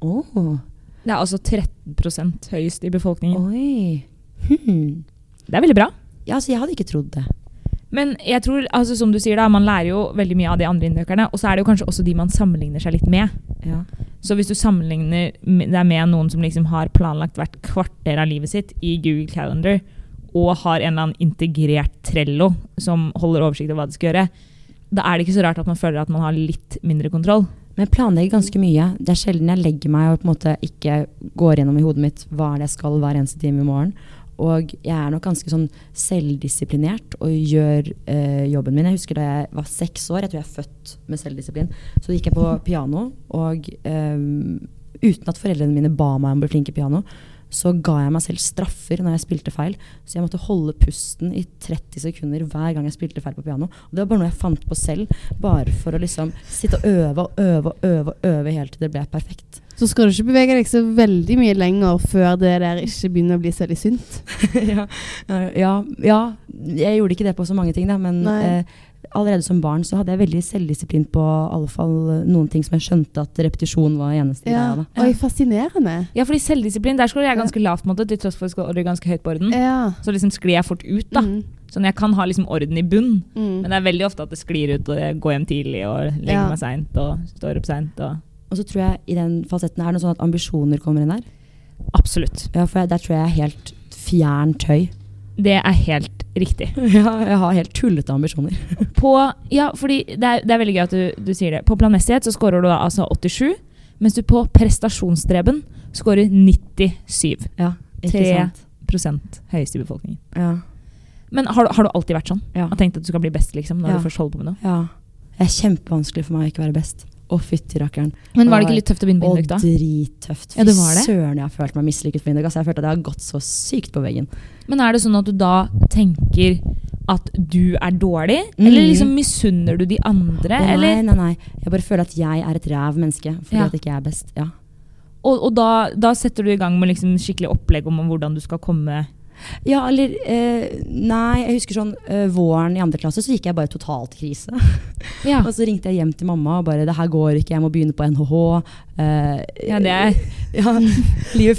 Speaker 3: Åh,
Speaker 1: Det er altså 13 høyest i befolkningen.
Speaker 3: oi. Hmm.
Speaker 1: Det er veldig bra.
Speaker 3: Ja, altså jeg hadde ikke trodd det.
Speaker 1: Men jeg tror, altså som du sier da, man lærer jo veldig mye av de andre indøkerne, og så er det jo kanskje også de man sammenligner seg litt med.
Speaker 3: Ja.
Speaker 1: Så hvis du sammenligner med- deg med noen som liksom har planlagt hvert kvarter av livet sitt i Google Calendar, og har en eller annen integrert Trello som holder oversikt over hva de skal gjøre, da er det ikke så rart at man føler at man har litt mindre kontroll.
Speaker 3: Men jeg planlegger ganske mye. Det er sjelden jeg legger meg og på en måte ikke går gjennom i hodet mitt hva er det jeg skal hver eneste time i morgen. Og jeg er nok ganske sånn selvdisiplinert og gjør eh, jobben min. Jeg husker da jeg var seks år, jeg tror jeg er født med selvdisiplin, så gikk jeg på piano. Og eh, uten at foreldrene mine ba meg om å bli flink i piano, så ga jeg meg selv straffer når jeg spilte feil. Så jeg måtte holde pusten i 30 sekunder hver gang jeg spilte feil på piano. Og det var bare noe jeg fant på selv, bare for å liksom sitte og øve og øve og øve og øve helt til det ble perfekt.
Speaker 2: Så skal du ikke bevege deg så veldig mye lenger før det der ikke begynner å bli så veldig sunt.
Speaker 3: ja, ja, ja, jeg gjorde ikke det på så mange ting, da, men
Speaker 2: Nei.
Speaker 3: eh, allerede som barn så hadde jeg veldig selvdisiplin på i alle fall eh, noen ting som jeg skjønte at repetisjon var eneste greia. da.
Speaker 2: Oi, fascinerende.
Speaker 1: Ja, fordi selvdisiplin, der skårer jeg ganske lavt, på en måte, til tross for at jeg scorer ganske høyt på orden.
Speaker 2: Ja.
Speaker 1: Så liksom sklir jeg fort ut, da.
Speaker 2: Mm.
Speaker 1: Sånn jeg kan ha liksom orden i bunn,
Speaker 2: Mm.
Speaker 1: Men det er veldig ofte at det sklir ut, og jeg går hjem tidlig og legger
Speaker 2: Ja.
Speaker 1: meg seint og står opp seint. og-
Speaker 3: Og så tror jeg i den falsetten er det noe sånn at ambisjoner kommer inn der.
Speaker 1: Absolutt.
Speaker 3: Ja, for jeg, der tror jeg jeg er helt fjernt høy.
Speaker 1: Det er helt Riktig.
Speaker 3: Ja, jeg har helt tullete ambisjoner.
Speaker 1: På, ja, fordi det er, det er veldig gøy at du, du sier det. På planmessighet så scorer du da altså 87, mens du på prestasjonsdreben scorer 97
Speaker 3: Ja, ikke
Speaker 1: Tre.
Speaker 3: sant?
Speaker 1: høyest i befolkningen.
Speaker 3: Ja,
Speaker 1: Men har, du- har du alltid vært sånn?
Speaker 3: ja,
Speaker 1: Har tenkt at du skal bli best liksom, når
Speaker 3: Ja.
Speaker 1: du først holder på med noe?
Speaker 3: ja. Det er kjempevanskelig for meg å ikke være best. Å, fytti rakkeren.
Speaker 1: Men var det ikke litt tøft å begynne på
Speaker 3: Og
Speaker 1: Induk da?
Speaker 3: drittøft. Fy
Speaker 1: Ja, det var det.
Speaker 3: søren, jeg har følt meg mislykket på Induk. Altså, jeg følte at jeg har gått så sykt på veggen.
Speaker 1: Men er det sånn at du da tenker at du er dårlig?
Speaker 3: Mm.
Speaker 1: Eller liksom misunner du de andre?
Speaker 3: Å,
Speaker 1: Eller?
Speaker 3: nei, nei, nei. Jeg bare føler at jeg er et ræv menneske fordi
Speaker 1: Ja.
Speaker 3: at ikke jeg er best. Ja.
Speaker 1: Og, og da, da setter du i gang med liksom skikkelig opplegg om hvordan du skal komme
Speaker 3: ja, eller eh, Nei, jeg husker sånn eh, våren i andre klasse så gikk jeg bare totalt krise.
Speaker 1: Ja,
Speaker 3: Og så ringte jeg hjem til mamma og bare 'det her går ikke, jeg må begynne på NHH'. eh,
Speaker 1: det er
Speaker 3: ja, Livet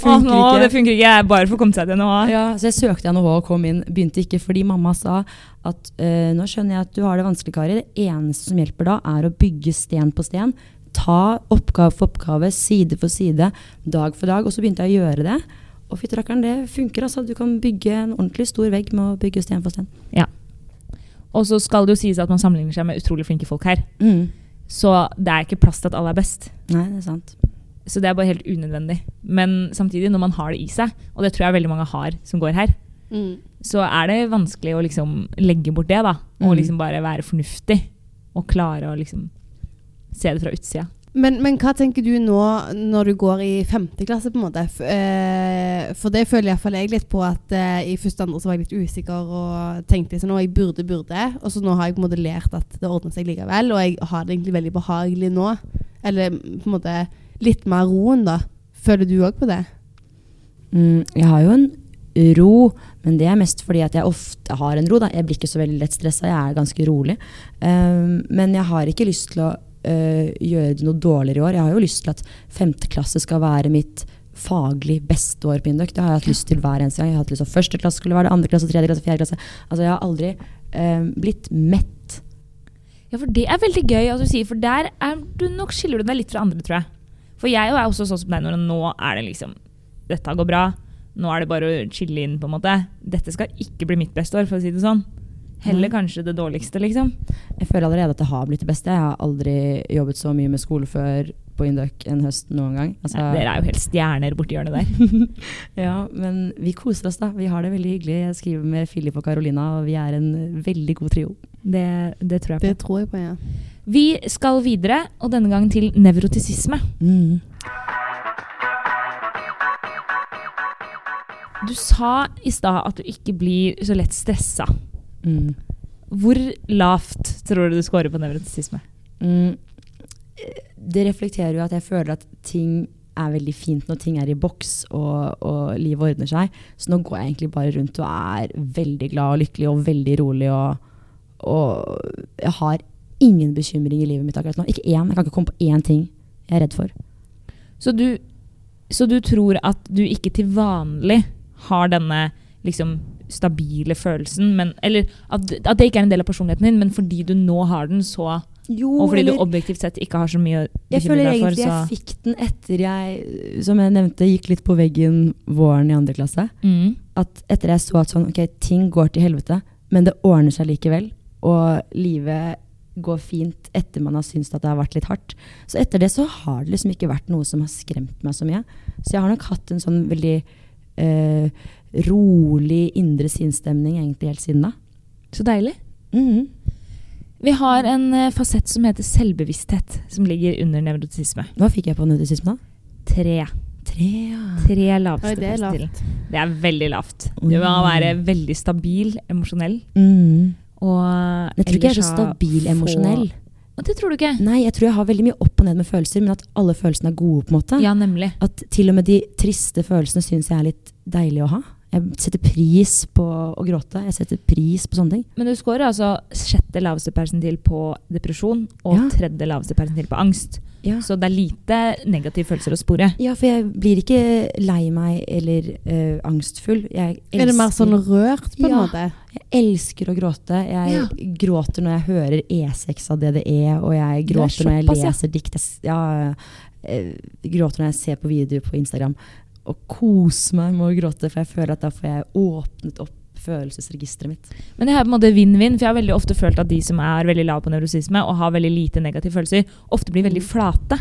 Speaker 1: Å,
Speaker 3: funker
Speaker 1: nå, det
Speaker 3: ikke.
Speaker 1: funker ikke. Jeg er bare for å komme seg til NHA.
Speaker 3: Ja, så jeg søkte NHH og kom inn. Begynte ikke fordi mamma sa at eh, 'nå skjønner jeg at du har det vanskelig, Kari'. Det eneste som hjelper da, er å bygge sten på sten. Ta oppgave for oppgave, side for side, dag for dag. Og så begynte jeg å gjøre det. Og fytti rakkeren, det funker. altså. Du kan bygge en ordentlig stor vegg med å bygge sten for sten.
Speaker 1: Og så skal det jo sies at man sammenligner seg med utrolig flinke folk her.
Speaker 3: Mm.
Speaker 1: Så det er ikke plass til at alle er best.
Speaker 3: Nei, det er sant.
Speaker 1: Så det er bare helt unødvendig. Men samtidig, når man har det i seg, og det tror jeg veldig mange har som går her,
Speaker 2: Mm.
Speaker 1: så er det vanskelig å liksom legge bort det, da. Og
Speaker 3: Mm.
Speaker 1: liksom bare være fornuftig. Og klare å liksom se det fra utsida.
Speaker 2: Men, men hva tenker du nå når du går i femte klasse, på en måte? F eh, for det føler iallfall jeg litt på at eh, i første og andre så var jeg litt usikker og tenkte liksom, nå jeg burde, burde. Og så nå har jeg på en måte lært at det ordner seg likevel, og jeg har det egentlig veldig behagelig nå. Eller på en måte litt mer roen, da. Føler du òg på det?
Speaker 3: Mm, jeg har jo en ro, men det er mest fordi at jeg ofte har en ro. Da. Jeg blir ikke så veldig lett stressa, jeg er ganske rolig. Um, men jeg har ikke lyst til å øh, gjøre det noe dårligere i år. Jeg har jo lyst til at femte klasse skal være mitt faglig beste år på Induc. Det har jeg hatt lyst til hver eneste gang. Jeg har hatt lyst til at første klasse skulle være det, andre klasse, tredje klasse, fjerde klasse. Altså jeg har aldri øh, blitt mett.
Speaker 1: Ja, for det er veldig gøy at du sier, for der er du nok skiller du deg litt fra andre, tror jeg. For jeg er jo også sånn som deg, når nå er det liksom Dette går bra. Nå er det bare å chille inn, på en måte. Dette skal ikke bli mitt beste år, for å si det sånn. Heller
Speaker 3: Mm.
Speaker 1: kanskje det dårligste, liksom.
Speaker 3: Jeg føler allerede at det har blitt det beste. Jeg har aldri jobbet så mye med skole før på Induc en høst noen gang. Altså-
Speaker 1: Nei, dere er jo helt stjerner borti hjørnet der.
Speaker 3: Ja, men vi koser oss da. Vi har det veldig hyggelig. Jeg skriver med Philip og Carolina, og vi er en veldig god trio.
Speaker 1: Det, det tror jeg på.
Speaker 2: Det tror jeg på, ja.
Speaker 1: Vi skal videre, og denne gang til nevrotisisme. Du sa i stad at du ikke blir så lett stressa.
Speaker 3: Mm.
Speaker 1: Hvor lavt tror du du scorer på nevrotisisme?
Speaker 3: Mm. Det reflekterer jo at jeg føler at ting er veldig fint når ting er i boks og, og livet ordner seg. Så nå går jeg egentlig bare rundt og er veldig glad og lykkelig og veldig rolig. Og, og jeg har ingen bekymring i livet mitt akkurat nå. Ikke én. Jeg kan ikke komme på én ting jeg er redd for.
Speaker 1: Så du, så du tror at du ikke til vanlig har denne liksom stabile følelsen, men, eller at, at det ikke er en del av personligheten din, men fordi du nå har den, så
Speaker 3: Jo,
Speaker 1: Og fordi du objektivt sett ikke har så mye å
Speaker 3: Jeg
Speaker 1: bekymre
Speaker 3: føler
Speaker 1: deg for,
Speaker 3: egentlig jeg
Speaker 1: så
Speaker 3: fikk den etter jeg, som jeg nevnte, gikk litt på veggen våren i andre klasse.
Speaker 1: mm.
Speaker 3: At etter jeg så at sånn, ok, ting går til helvete, men det ordner seg likevel. Og livet går fint etter man har syntes at det har vært litt hardt. Så etter det så har det liksom ikke vært noe som har skremt meg så mye. Så jeg har nok hatt en sånn veldig eh, rolig indre sinnsstemning egentlig helt siden da.
Speaker 1: Så deilig.
Speaker 3: Mhm.
Speaker 1: Vi har en eh, fasett som heter selvbevissthet, som ligger under nevrotisisme.
Speaker 3: Hva fikk jeg på nudisisme da?
Speaker 1: Tre.
Speaker 3: Tre, ja.
Speaker 1: Tre laveste
Speaker 2: Oi, det er
Speaker 1: positive.
Speaker 2: lavt.
Speaker 1: Det er veldig lavt. Du må være veldig stabil emosjonell.
Speaker 3: Mhm.
Speaker 1: Og
Speaker 3: Jeg tror ikke jeg er
Speaker 1: ellers
Speaker 3: så
Speaker 1: ha
Speaker 3: stabil
Speaker 1: få-
Speaker 3: emosjonell.
Speaker 1: Og Det tror du ikke?
Speaker 3: Nei, jeg tror jeg har veldig mye opp og ned med følelser, men at alle følelsene er gode, på en måte.
Speaker 1: Ja, nemlig.
Speaker 3: At til og med de triste følelsene syns jeg er litt deilig å ha. Jeg setter pris på å gråte. Jeg setter pris på sånne ting.
Speaker 1: Men du scorer altså sjette laveste persentil på depresjon og
Speaker 3: Ja.
Speaker 1: tredje laveste persentil på angst.
Speaker 3: Ja.
Speaker 1: Så det er lite negative følelser å spore.
Speaker 3: for jeg blir ikke lei meg eller eh, angstfull. Jeg elsker,
Speaker 2: Er det mer sånn rørt, på en
Speaker 3: Ja.
Speaker 2: måte?
Speaker 3: jeg elsker å gråte. Jeg
Speaker 1: Ja.
Speaker 3: gråter når jeg hører E6 av DDE, og jeg
Speaker 1: Det er
Speaker 3: gråter når jeg
Speaker 1: såpass, ja.
Speaker 3: leser dikt. Jeg s- Ja, eh, gråter når jeg ser på videoer på Instagram. Og koser meg med å gråte, for jeg føler at da får jeg åpnet opp følelsesregisteret mitt.
Speaker 1: Men det er på en måte vinn-vinn, for jeg har veldig ofte følt at de som er veldig lave på nevrosisme og har veldig lite negative følelser, ofte blir
Speaker 3: Mm.
Speaker 1: veldig flate.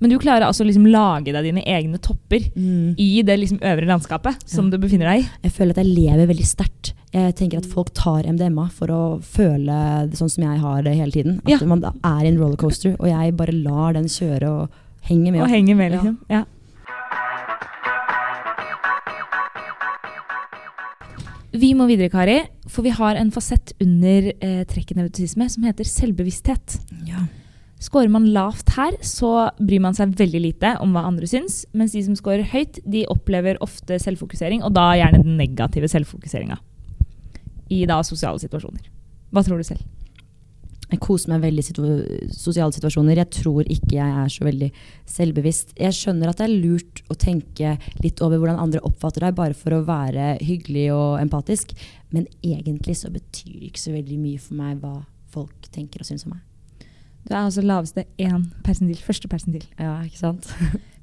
Speaker 1: Men du klarer altså liksom lage deg dine egne topper i det liksom øvre landskapet som
Speaker 3: Mm. Ja.
Speaker 1: du befinner deg i.
Speaker 3: Jeg føler at jeg lever veldig sterkt. Jeg tenker at folk tar MDMA for å føle det sånn som jeg har det hele tiden. At
Speaker 1: Ja.
Speaker 3: man er i en rollercoaster, og jeg bare lar den kjøre og henger med.
Speaker 1: Og henger med, liksom. Ja. Vi må videre, Kari, for vi har en fasett under eh, trekket nevrotisisme som heter selvbevissthet.
Speaker 3: Ja.
Speaker 1: Skårer man lavt her, så bryr man seg veldig lite om hva andre syns. Mens de som skårer høyt, de opplever ofte selvfokusering, og da gjerne den negative selvfokuseringa. I da sosiale situasjoner. Hva tror du selv?
Speaker 3: Jeg koser meg veldig i situ- sosiale situasjoner. Jeg tror ikke jeg er så veldig selvbevisst. Jeg skjønner at det er lurt å tenke litt over hvordan andre oppfatter deg, bare for å være hyggelig og empatisk. Men egentlig så betyr det ikke så veldig mye for meg hva folk tenker og syns om meg.
Speaker 1: Du er altså laveste én persentil. Første persentil.
Speaker 3: Ja, ikke sant?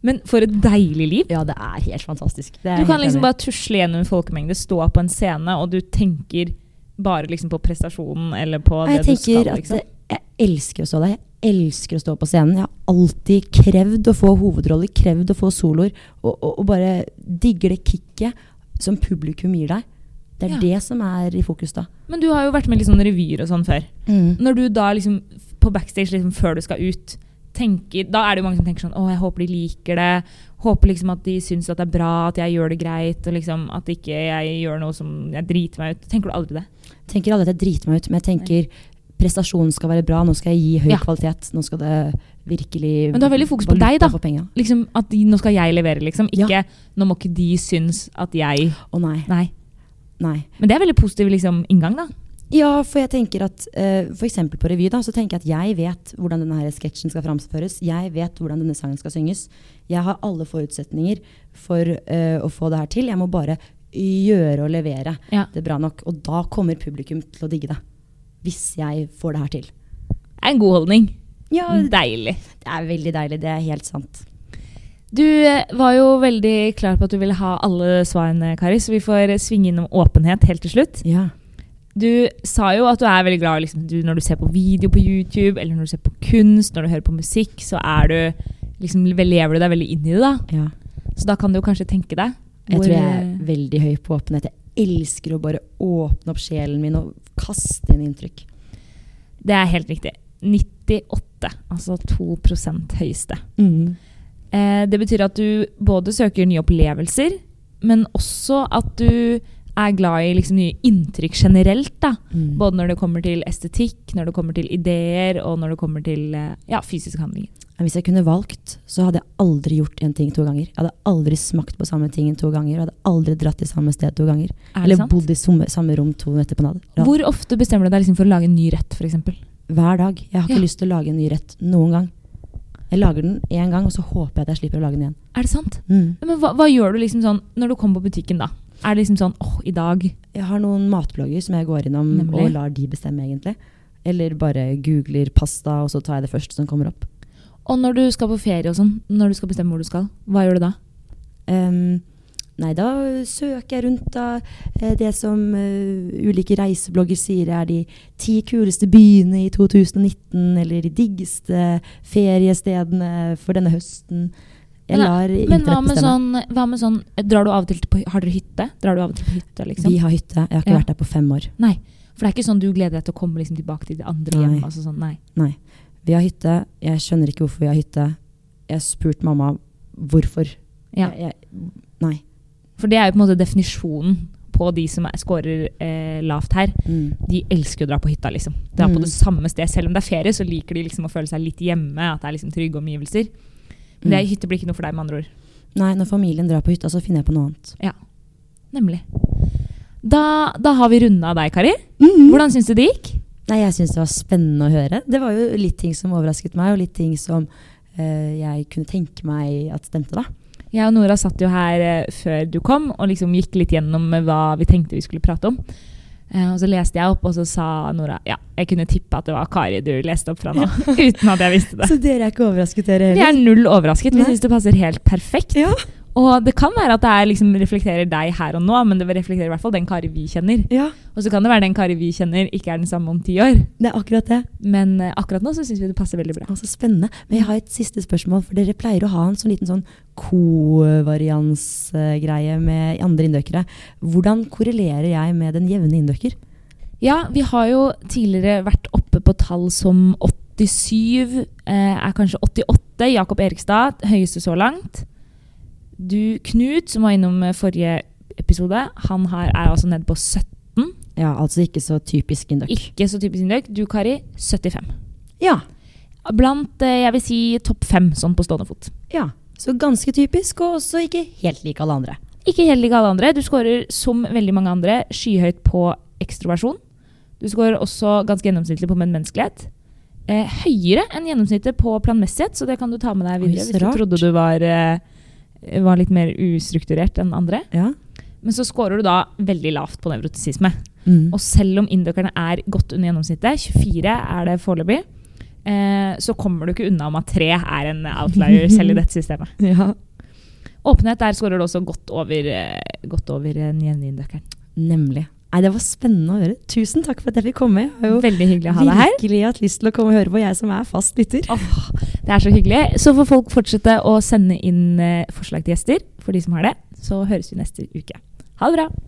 Speaker 1: Men for et deilig liv.
Speaker 3: Ja, det er helt fantastisk. Det er
Speaker 1: Du
Speaker 3: jeg
Speaker 1: kan
Speaker 3: helt
Speaker 1: liksom
Speaker 3: enig i.
Speaker 1: bare tusle gjennom en folkemengde, stå på en scene, og du tenker bare liksom på prestasjonen eller på
Speaker 3: Nei,
Speaker 1: det
Speaker 3: jeg
Speaker 1: du
Speaker 3: tenker
Speaker 1: skal,
Speaker 3: at
Speaker 1: liksom.
Speaker 3: det- Jeg elsker å stå der. Jeg elsker å stå på scenen. Jeg har alltid krevd å få hovedroller, krevd å få soloer. Og, og, og bare digger det kicket som publikum gir deg. Det er
Speaker 1: Ja.
Speaker 3: det som er i fokus da.
Speaker 1: Men du har jo vært med i litt sånn revyer og sånn før. Når du da liksom f- på backstage liksom før du skal ut tenker, Da er det jo mange som tenker sånn Å, jeg håper de liker det. Håper liksom at de syns at det er bra, at jeg gjør det greit. Og liksom at ikke jeg gjør noe som jeg driter meg ut. Tenker du aldri det?
Speaker 3: Tenker alle at jeg driter meg ut, men jeg tenker prestasjonen skal være bra. Nå skal jeg gi høy
Speaker 1: Ja.
Speaker 3: kvalitet. Nå skal det virkelig
Speaker 1: Men du har veldig fokus på
Speaker 3: valuta
Speaker 1: deg, da.
Speaker 3: for penga.
Speaker 1: Liksom at de, Nå skal jeg levere, liksom. Ikke Nå må ikke de synes at jeg
Speaker 3: Å nei.
Speaker 1: Nei.
Speaker 3: Nei.
Speaker 1: Men det er veldig positiv liksom, inngang, da.
Speaker 3: Ja, for jeg tenker at eh, for eksempel på revy da, så tenker jeg at jeg vet hvordan denne her sketsjen skal framføres. Jeg vet hvordan denne sangen skal synges. Jeg har alle forutsetninger for eh, å få det her til. Jeg må bare gjøre og levere
Speaker 1: Ja.
Speaker 3: det bra nok. Og da kommer publikum til å digge det. Hvis jeg får det her til.
Speaker 1: Det er en god holdning.
Speaker 3: Ja,
Speaker 1: Deilig.
Speaker 3: det er veldig deilig. Det er helt sant.
Speaker 1: Du eh, var jo veldig klar på at du ville ha alle svarene, Kari, så vi får eh, svinge innom åpenhet helt til slutt.
Speaker 3: Ja.
Speaker 1: Du sa jo at du er veldig glad liksom, du, når du ser på video på YouTube, eller når du ser på kunst, når du hører på musikk, så er du liksom, lever du deg veldig inn i det, da.
Speaker 3: ja.
Speaker 1: Så da kan du jo kanskje tenke deg
Speaker 3: Jeg
Speaker 1: hvor- eh,
Speaker 3: tror jeg er veldig høy på åpenhet. Jeg elsker å bare åpne opp sjelen min og kaste inn inntrykk.
Speaker 1: Det er helt riktig. 98, altså 2 høyeste. Eh, det betyr at du både søker nye opplevelser, men også at du er glad i liksom, nye inntrykk generelt, da.
Speaker 3: Mm.
Speaker 1: Både når det kommer til estetikk, når det kommer til ideer, og når det kommer til eh, ja, fysiske handlinger.
Speaker 3: Men hvis jeg kunne valgt, så hadde jeg aldri gjort en ting to ganger. Jeg hadde aldri smakt på samme tingen to ganger. Jeg hadde aldri dratt til samme sted to ganger.
Speaker 1: Er det
Speaker 3: Eller
Speaker 1: sant?
Speaker 3: bodd i samme, samme rom to netter på nader.
Speaker 1: Hvor ofte bestemmer du deg liksom for å lage en ny rett, f.eks.?
Speaker 3: Hver dag. Jeg har ikke
Speaker 1: Ja.
Speaker 3: lyst til å lage en ny rett noen gang. Jeg lager den én gang, og så håper jeg at jeg slipper å lage den igjen.
Speaker 1: Er det sant? Men hva, hva gjør du liksom sånn når du kommer på butikken, da? Er det liksom sånn åh, i dag
Speaker 3: Jeg har noen matblogger som jeg går innom
Speaker 1: Nemlig?
Speaker 3: og lar de bestemme, egentlig. Eller bare googler pasta, og så tar jeg det første som kommer opp.
Speaker 1: Og når du skal på ferie og sånn, når du skal bestemme hvor du skal, hva gjør du da?
Speaker 3: Ehm, nei, da søker jeg rundt da, eh, det som eh, ulike reiseblogger sier er de ti kuleste byene i 2019, eller de diggeste feriestedene for denne høsten. Jeg
Speaker 1: Men-
Speaker 3: lar
Speaker 1: Men hva
Speaker 3: internett
Speaker 1: med
Speaker 3: bestemme.
Speaker 1: sånn, hva med sånn drar du av og til på, Har dere hytte? Drar du av og til på hytta, liksom?
Speaker 3: Vi har hytte. Jeg har ikke
Speaker 1: Ja.
Speaker 3: vært der på fem år.
Speaker 1: Nei. For det er ikke sånn du gleder deg til å komme liksom, tilbake til det andre
Speaker 3: Nei.
Speaker 1: hjemmet? Altså, sånn, nei.
Speaker 3: Nei. Vi har hytte. Jeg skjønner ikke hvorfor vi har hytte. Jeg har spurt mamma hvorfor.
Speaker 1: Ja.
Speaker 3: Jeg, jeg, nei.
Speaker 1: For det er jo på en måte definisjonen på de som er, scorer eh, lavt her.
Speaker 3: Mm.
Speaker 1: De elsker å dra på hytta, liksom. Dra på
Speaker 3: Mm.
Speaker 1: det samme sted. Selv om det er ferie, så liker de liksom å føle seg litt hjemme. At det er liksom trygge omgivelser. Men det,
Speaker 3: Mm.
Speaker 1: hytte blir ikke noe for deg, med andre ord.
Speaker 3: Nei, når familien drar på hytta, så finner jeg på noe annet.
Speaker 1: Nemlig. Da, da har vi runda deg, Kari.
Speaker 3: Mm.
Speaker 1: Hvordan syns du det gikk?
Speaker 3: Nei, jeg syns det var spennende å høre. Det var jo litt ting som overrasket meg, og litt ting som eh, jeg kunne tenke meg at stemte, da.
Speaker 1: Jeg og Nora satt jo her eh, før du kom og liksom gikk litt gjennom eh, hva vi tenkte vi skulle prate om. Eh, og så leste jeg opp, og så sa Nora ja, jeg kunne tippe at det var Kari du leste opp fra nå. uten at jeg visste det.
Speaker 3: Så dere er ikke overrasket, dere
Speaker 1: Vi er null overrasket. Vi
Speaker 3: Nei.
Speaker 1: syns det passer helt perfekt.
Speaker 3: Ja.
Speaker 1: Og det kan være at det er liksom reflekterer deg her og nå, men det reflekterer i hvert fall den Kari vi kjenner.
Speaker 3: Ja,
Speaker 1: Og så kan det være den Kari vi kjenner, ikke er den samme om ti år.
Speaker 3: det er akkurat det.
Speaker 1: Men eh, akkurat nå så syns vi det passer veldig bra.
Speaker 3: Å, så spennende. Men jeg har et siste spørsmål, for dere pleier å ha en sånn liten sånn kovariansgreie med andre inndøkere. Hvordan korrelerer jeg med den jevne inndøker?
Speaker 1: Ja, vi har jo tidligere vært oppe på tall som 87, eh, er kanskje 88. Jakob Erikstad, høyeste så langt. Du, Knut, som var innom eh, forrige episode, han her er altså nede på 17.
Speaker 3: Ja, altså ikke så typisk inndøk.
Speaker 1: Ikke så typisk indøk. Du, Kari, 75.
Speaker 3: Ja,
Speaker 1: Blant eh, jeg vil si topp fem, sånn på stående fot.
Speaker 3: ja. Så ganske typisk, og også ikke helt lik alle andre.
Speaker 1: Ikke helt like alle andre. Du scorer som veldig mange andre skyhøyt på ekstroversjon. Du scorer også ganske gjennomsnittlig på medmenneskelighet. Eh, høyere enn gjennomsnittet på planmessighet, så det kan du ta med deg
Speaker 3: Oi,
Speaker 1: videre
Speaker 3: så
Speaker 1: hvis du
Speaker 3: rart.
Speaker 1: trodde du var, eh, var litt mer ustrukturert enn andre.
Speaker 3: Ja.
Speaker 1: Men så scorer du da veldig lavt på nevrotisisme.
Speaker 3: Mm.
Speaker 1: Og selv om indokerne er godt under gjennomsnittet, 24 er det foreløpig, eh, så kommer du ikke unna om at 3 er en outlier selv i dette systemet.
Speaker 3: ja.
Speaker 1: Åpenhet, der scorer du også godt over, eh, godt over den jevne indokeren.
Speaker 3: Nemlig. Nei, det var spennende å høre. Tusen takk for at jeg fikk komme. Jeg har jo
Speaker 1: Veldig hyggelig å ha deg her.
Speaker 3: virkelig hatt lyst til å komme og høre på, jeg som er fast lytter.
Speaker 1: Åh, det er så hyggelig. Så får folk fortsette å sende inn eh, forslag til gjester for de som har det. Så høres vi neste uke. Ha det bra.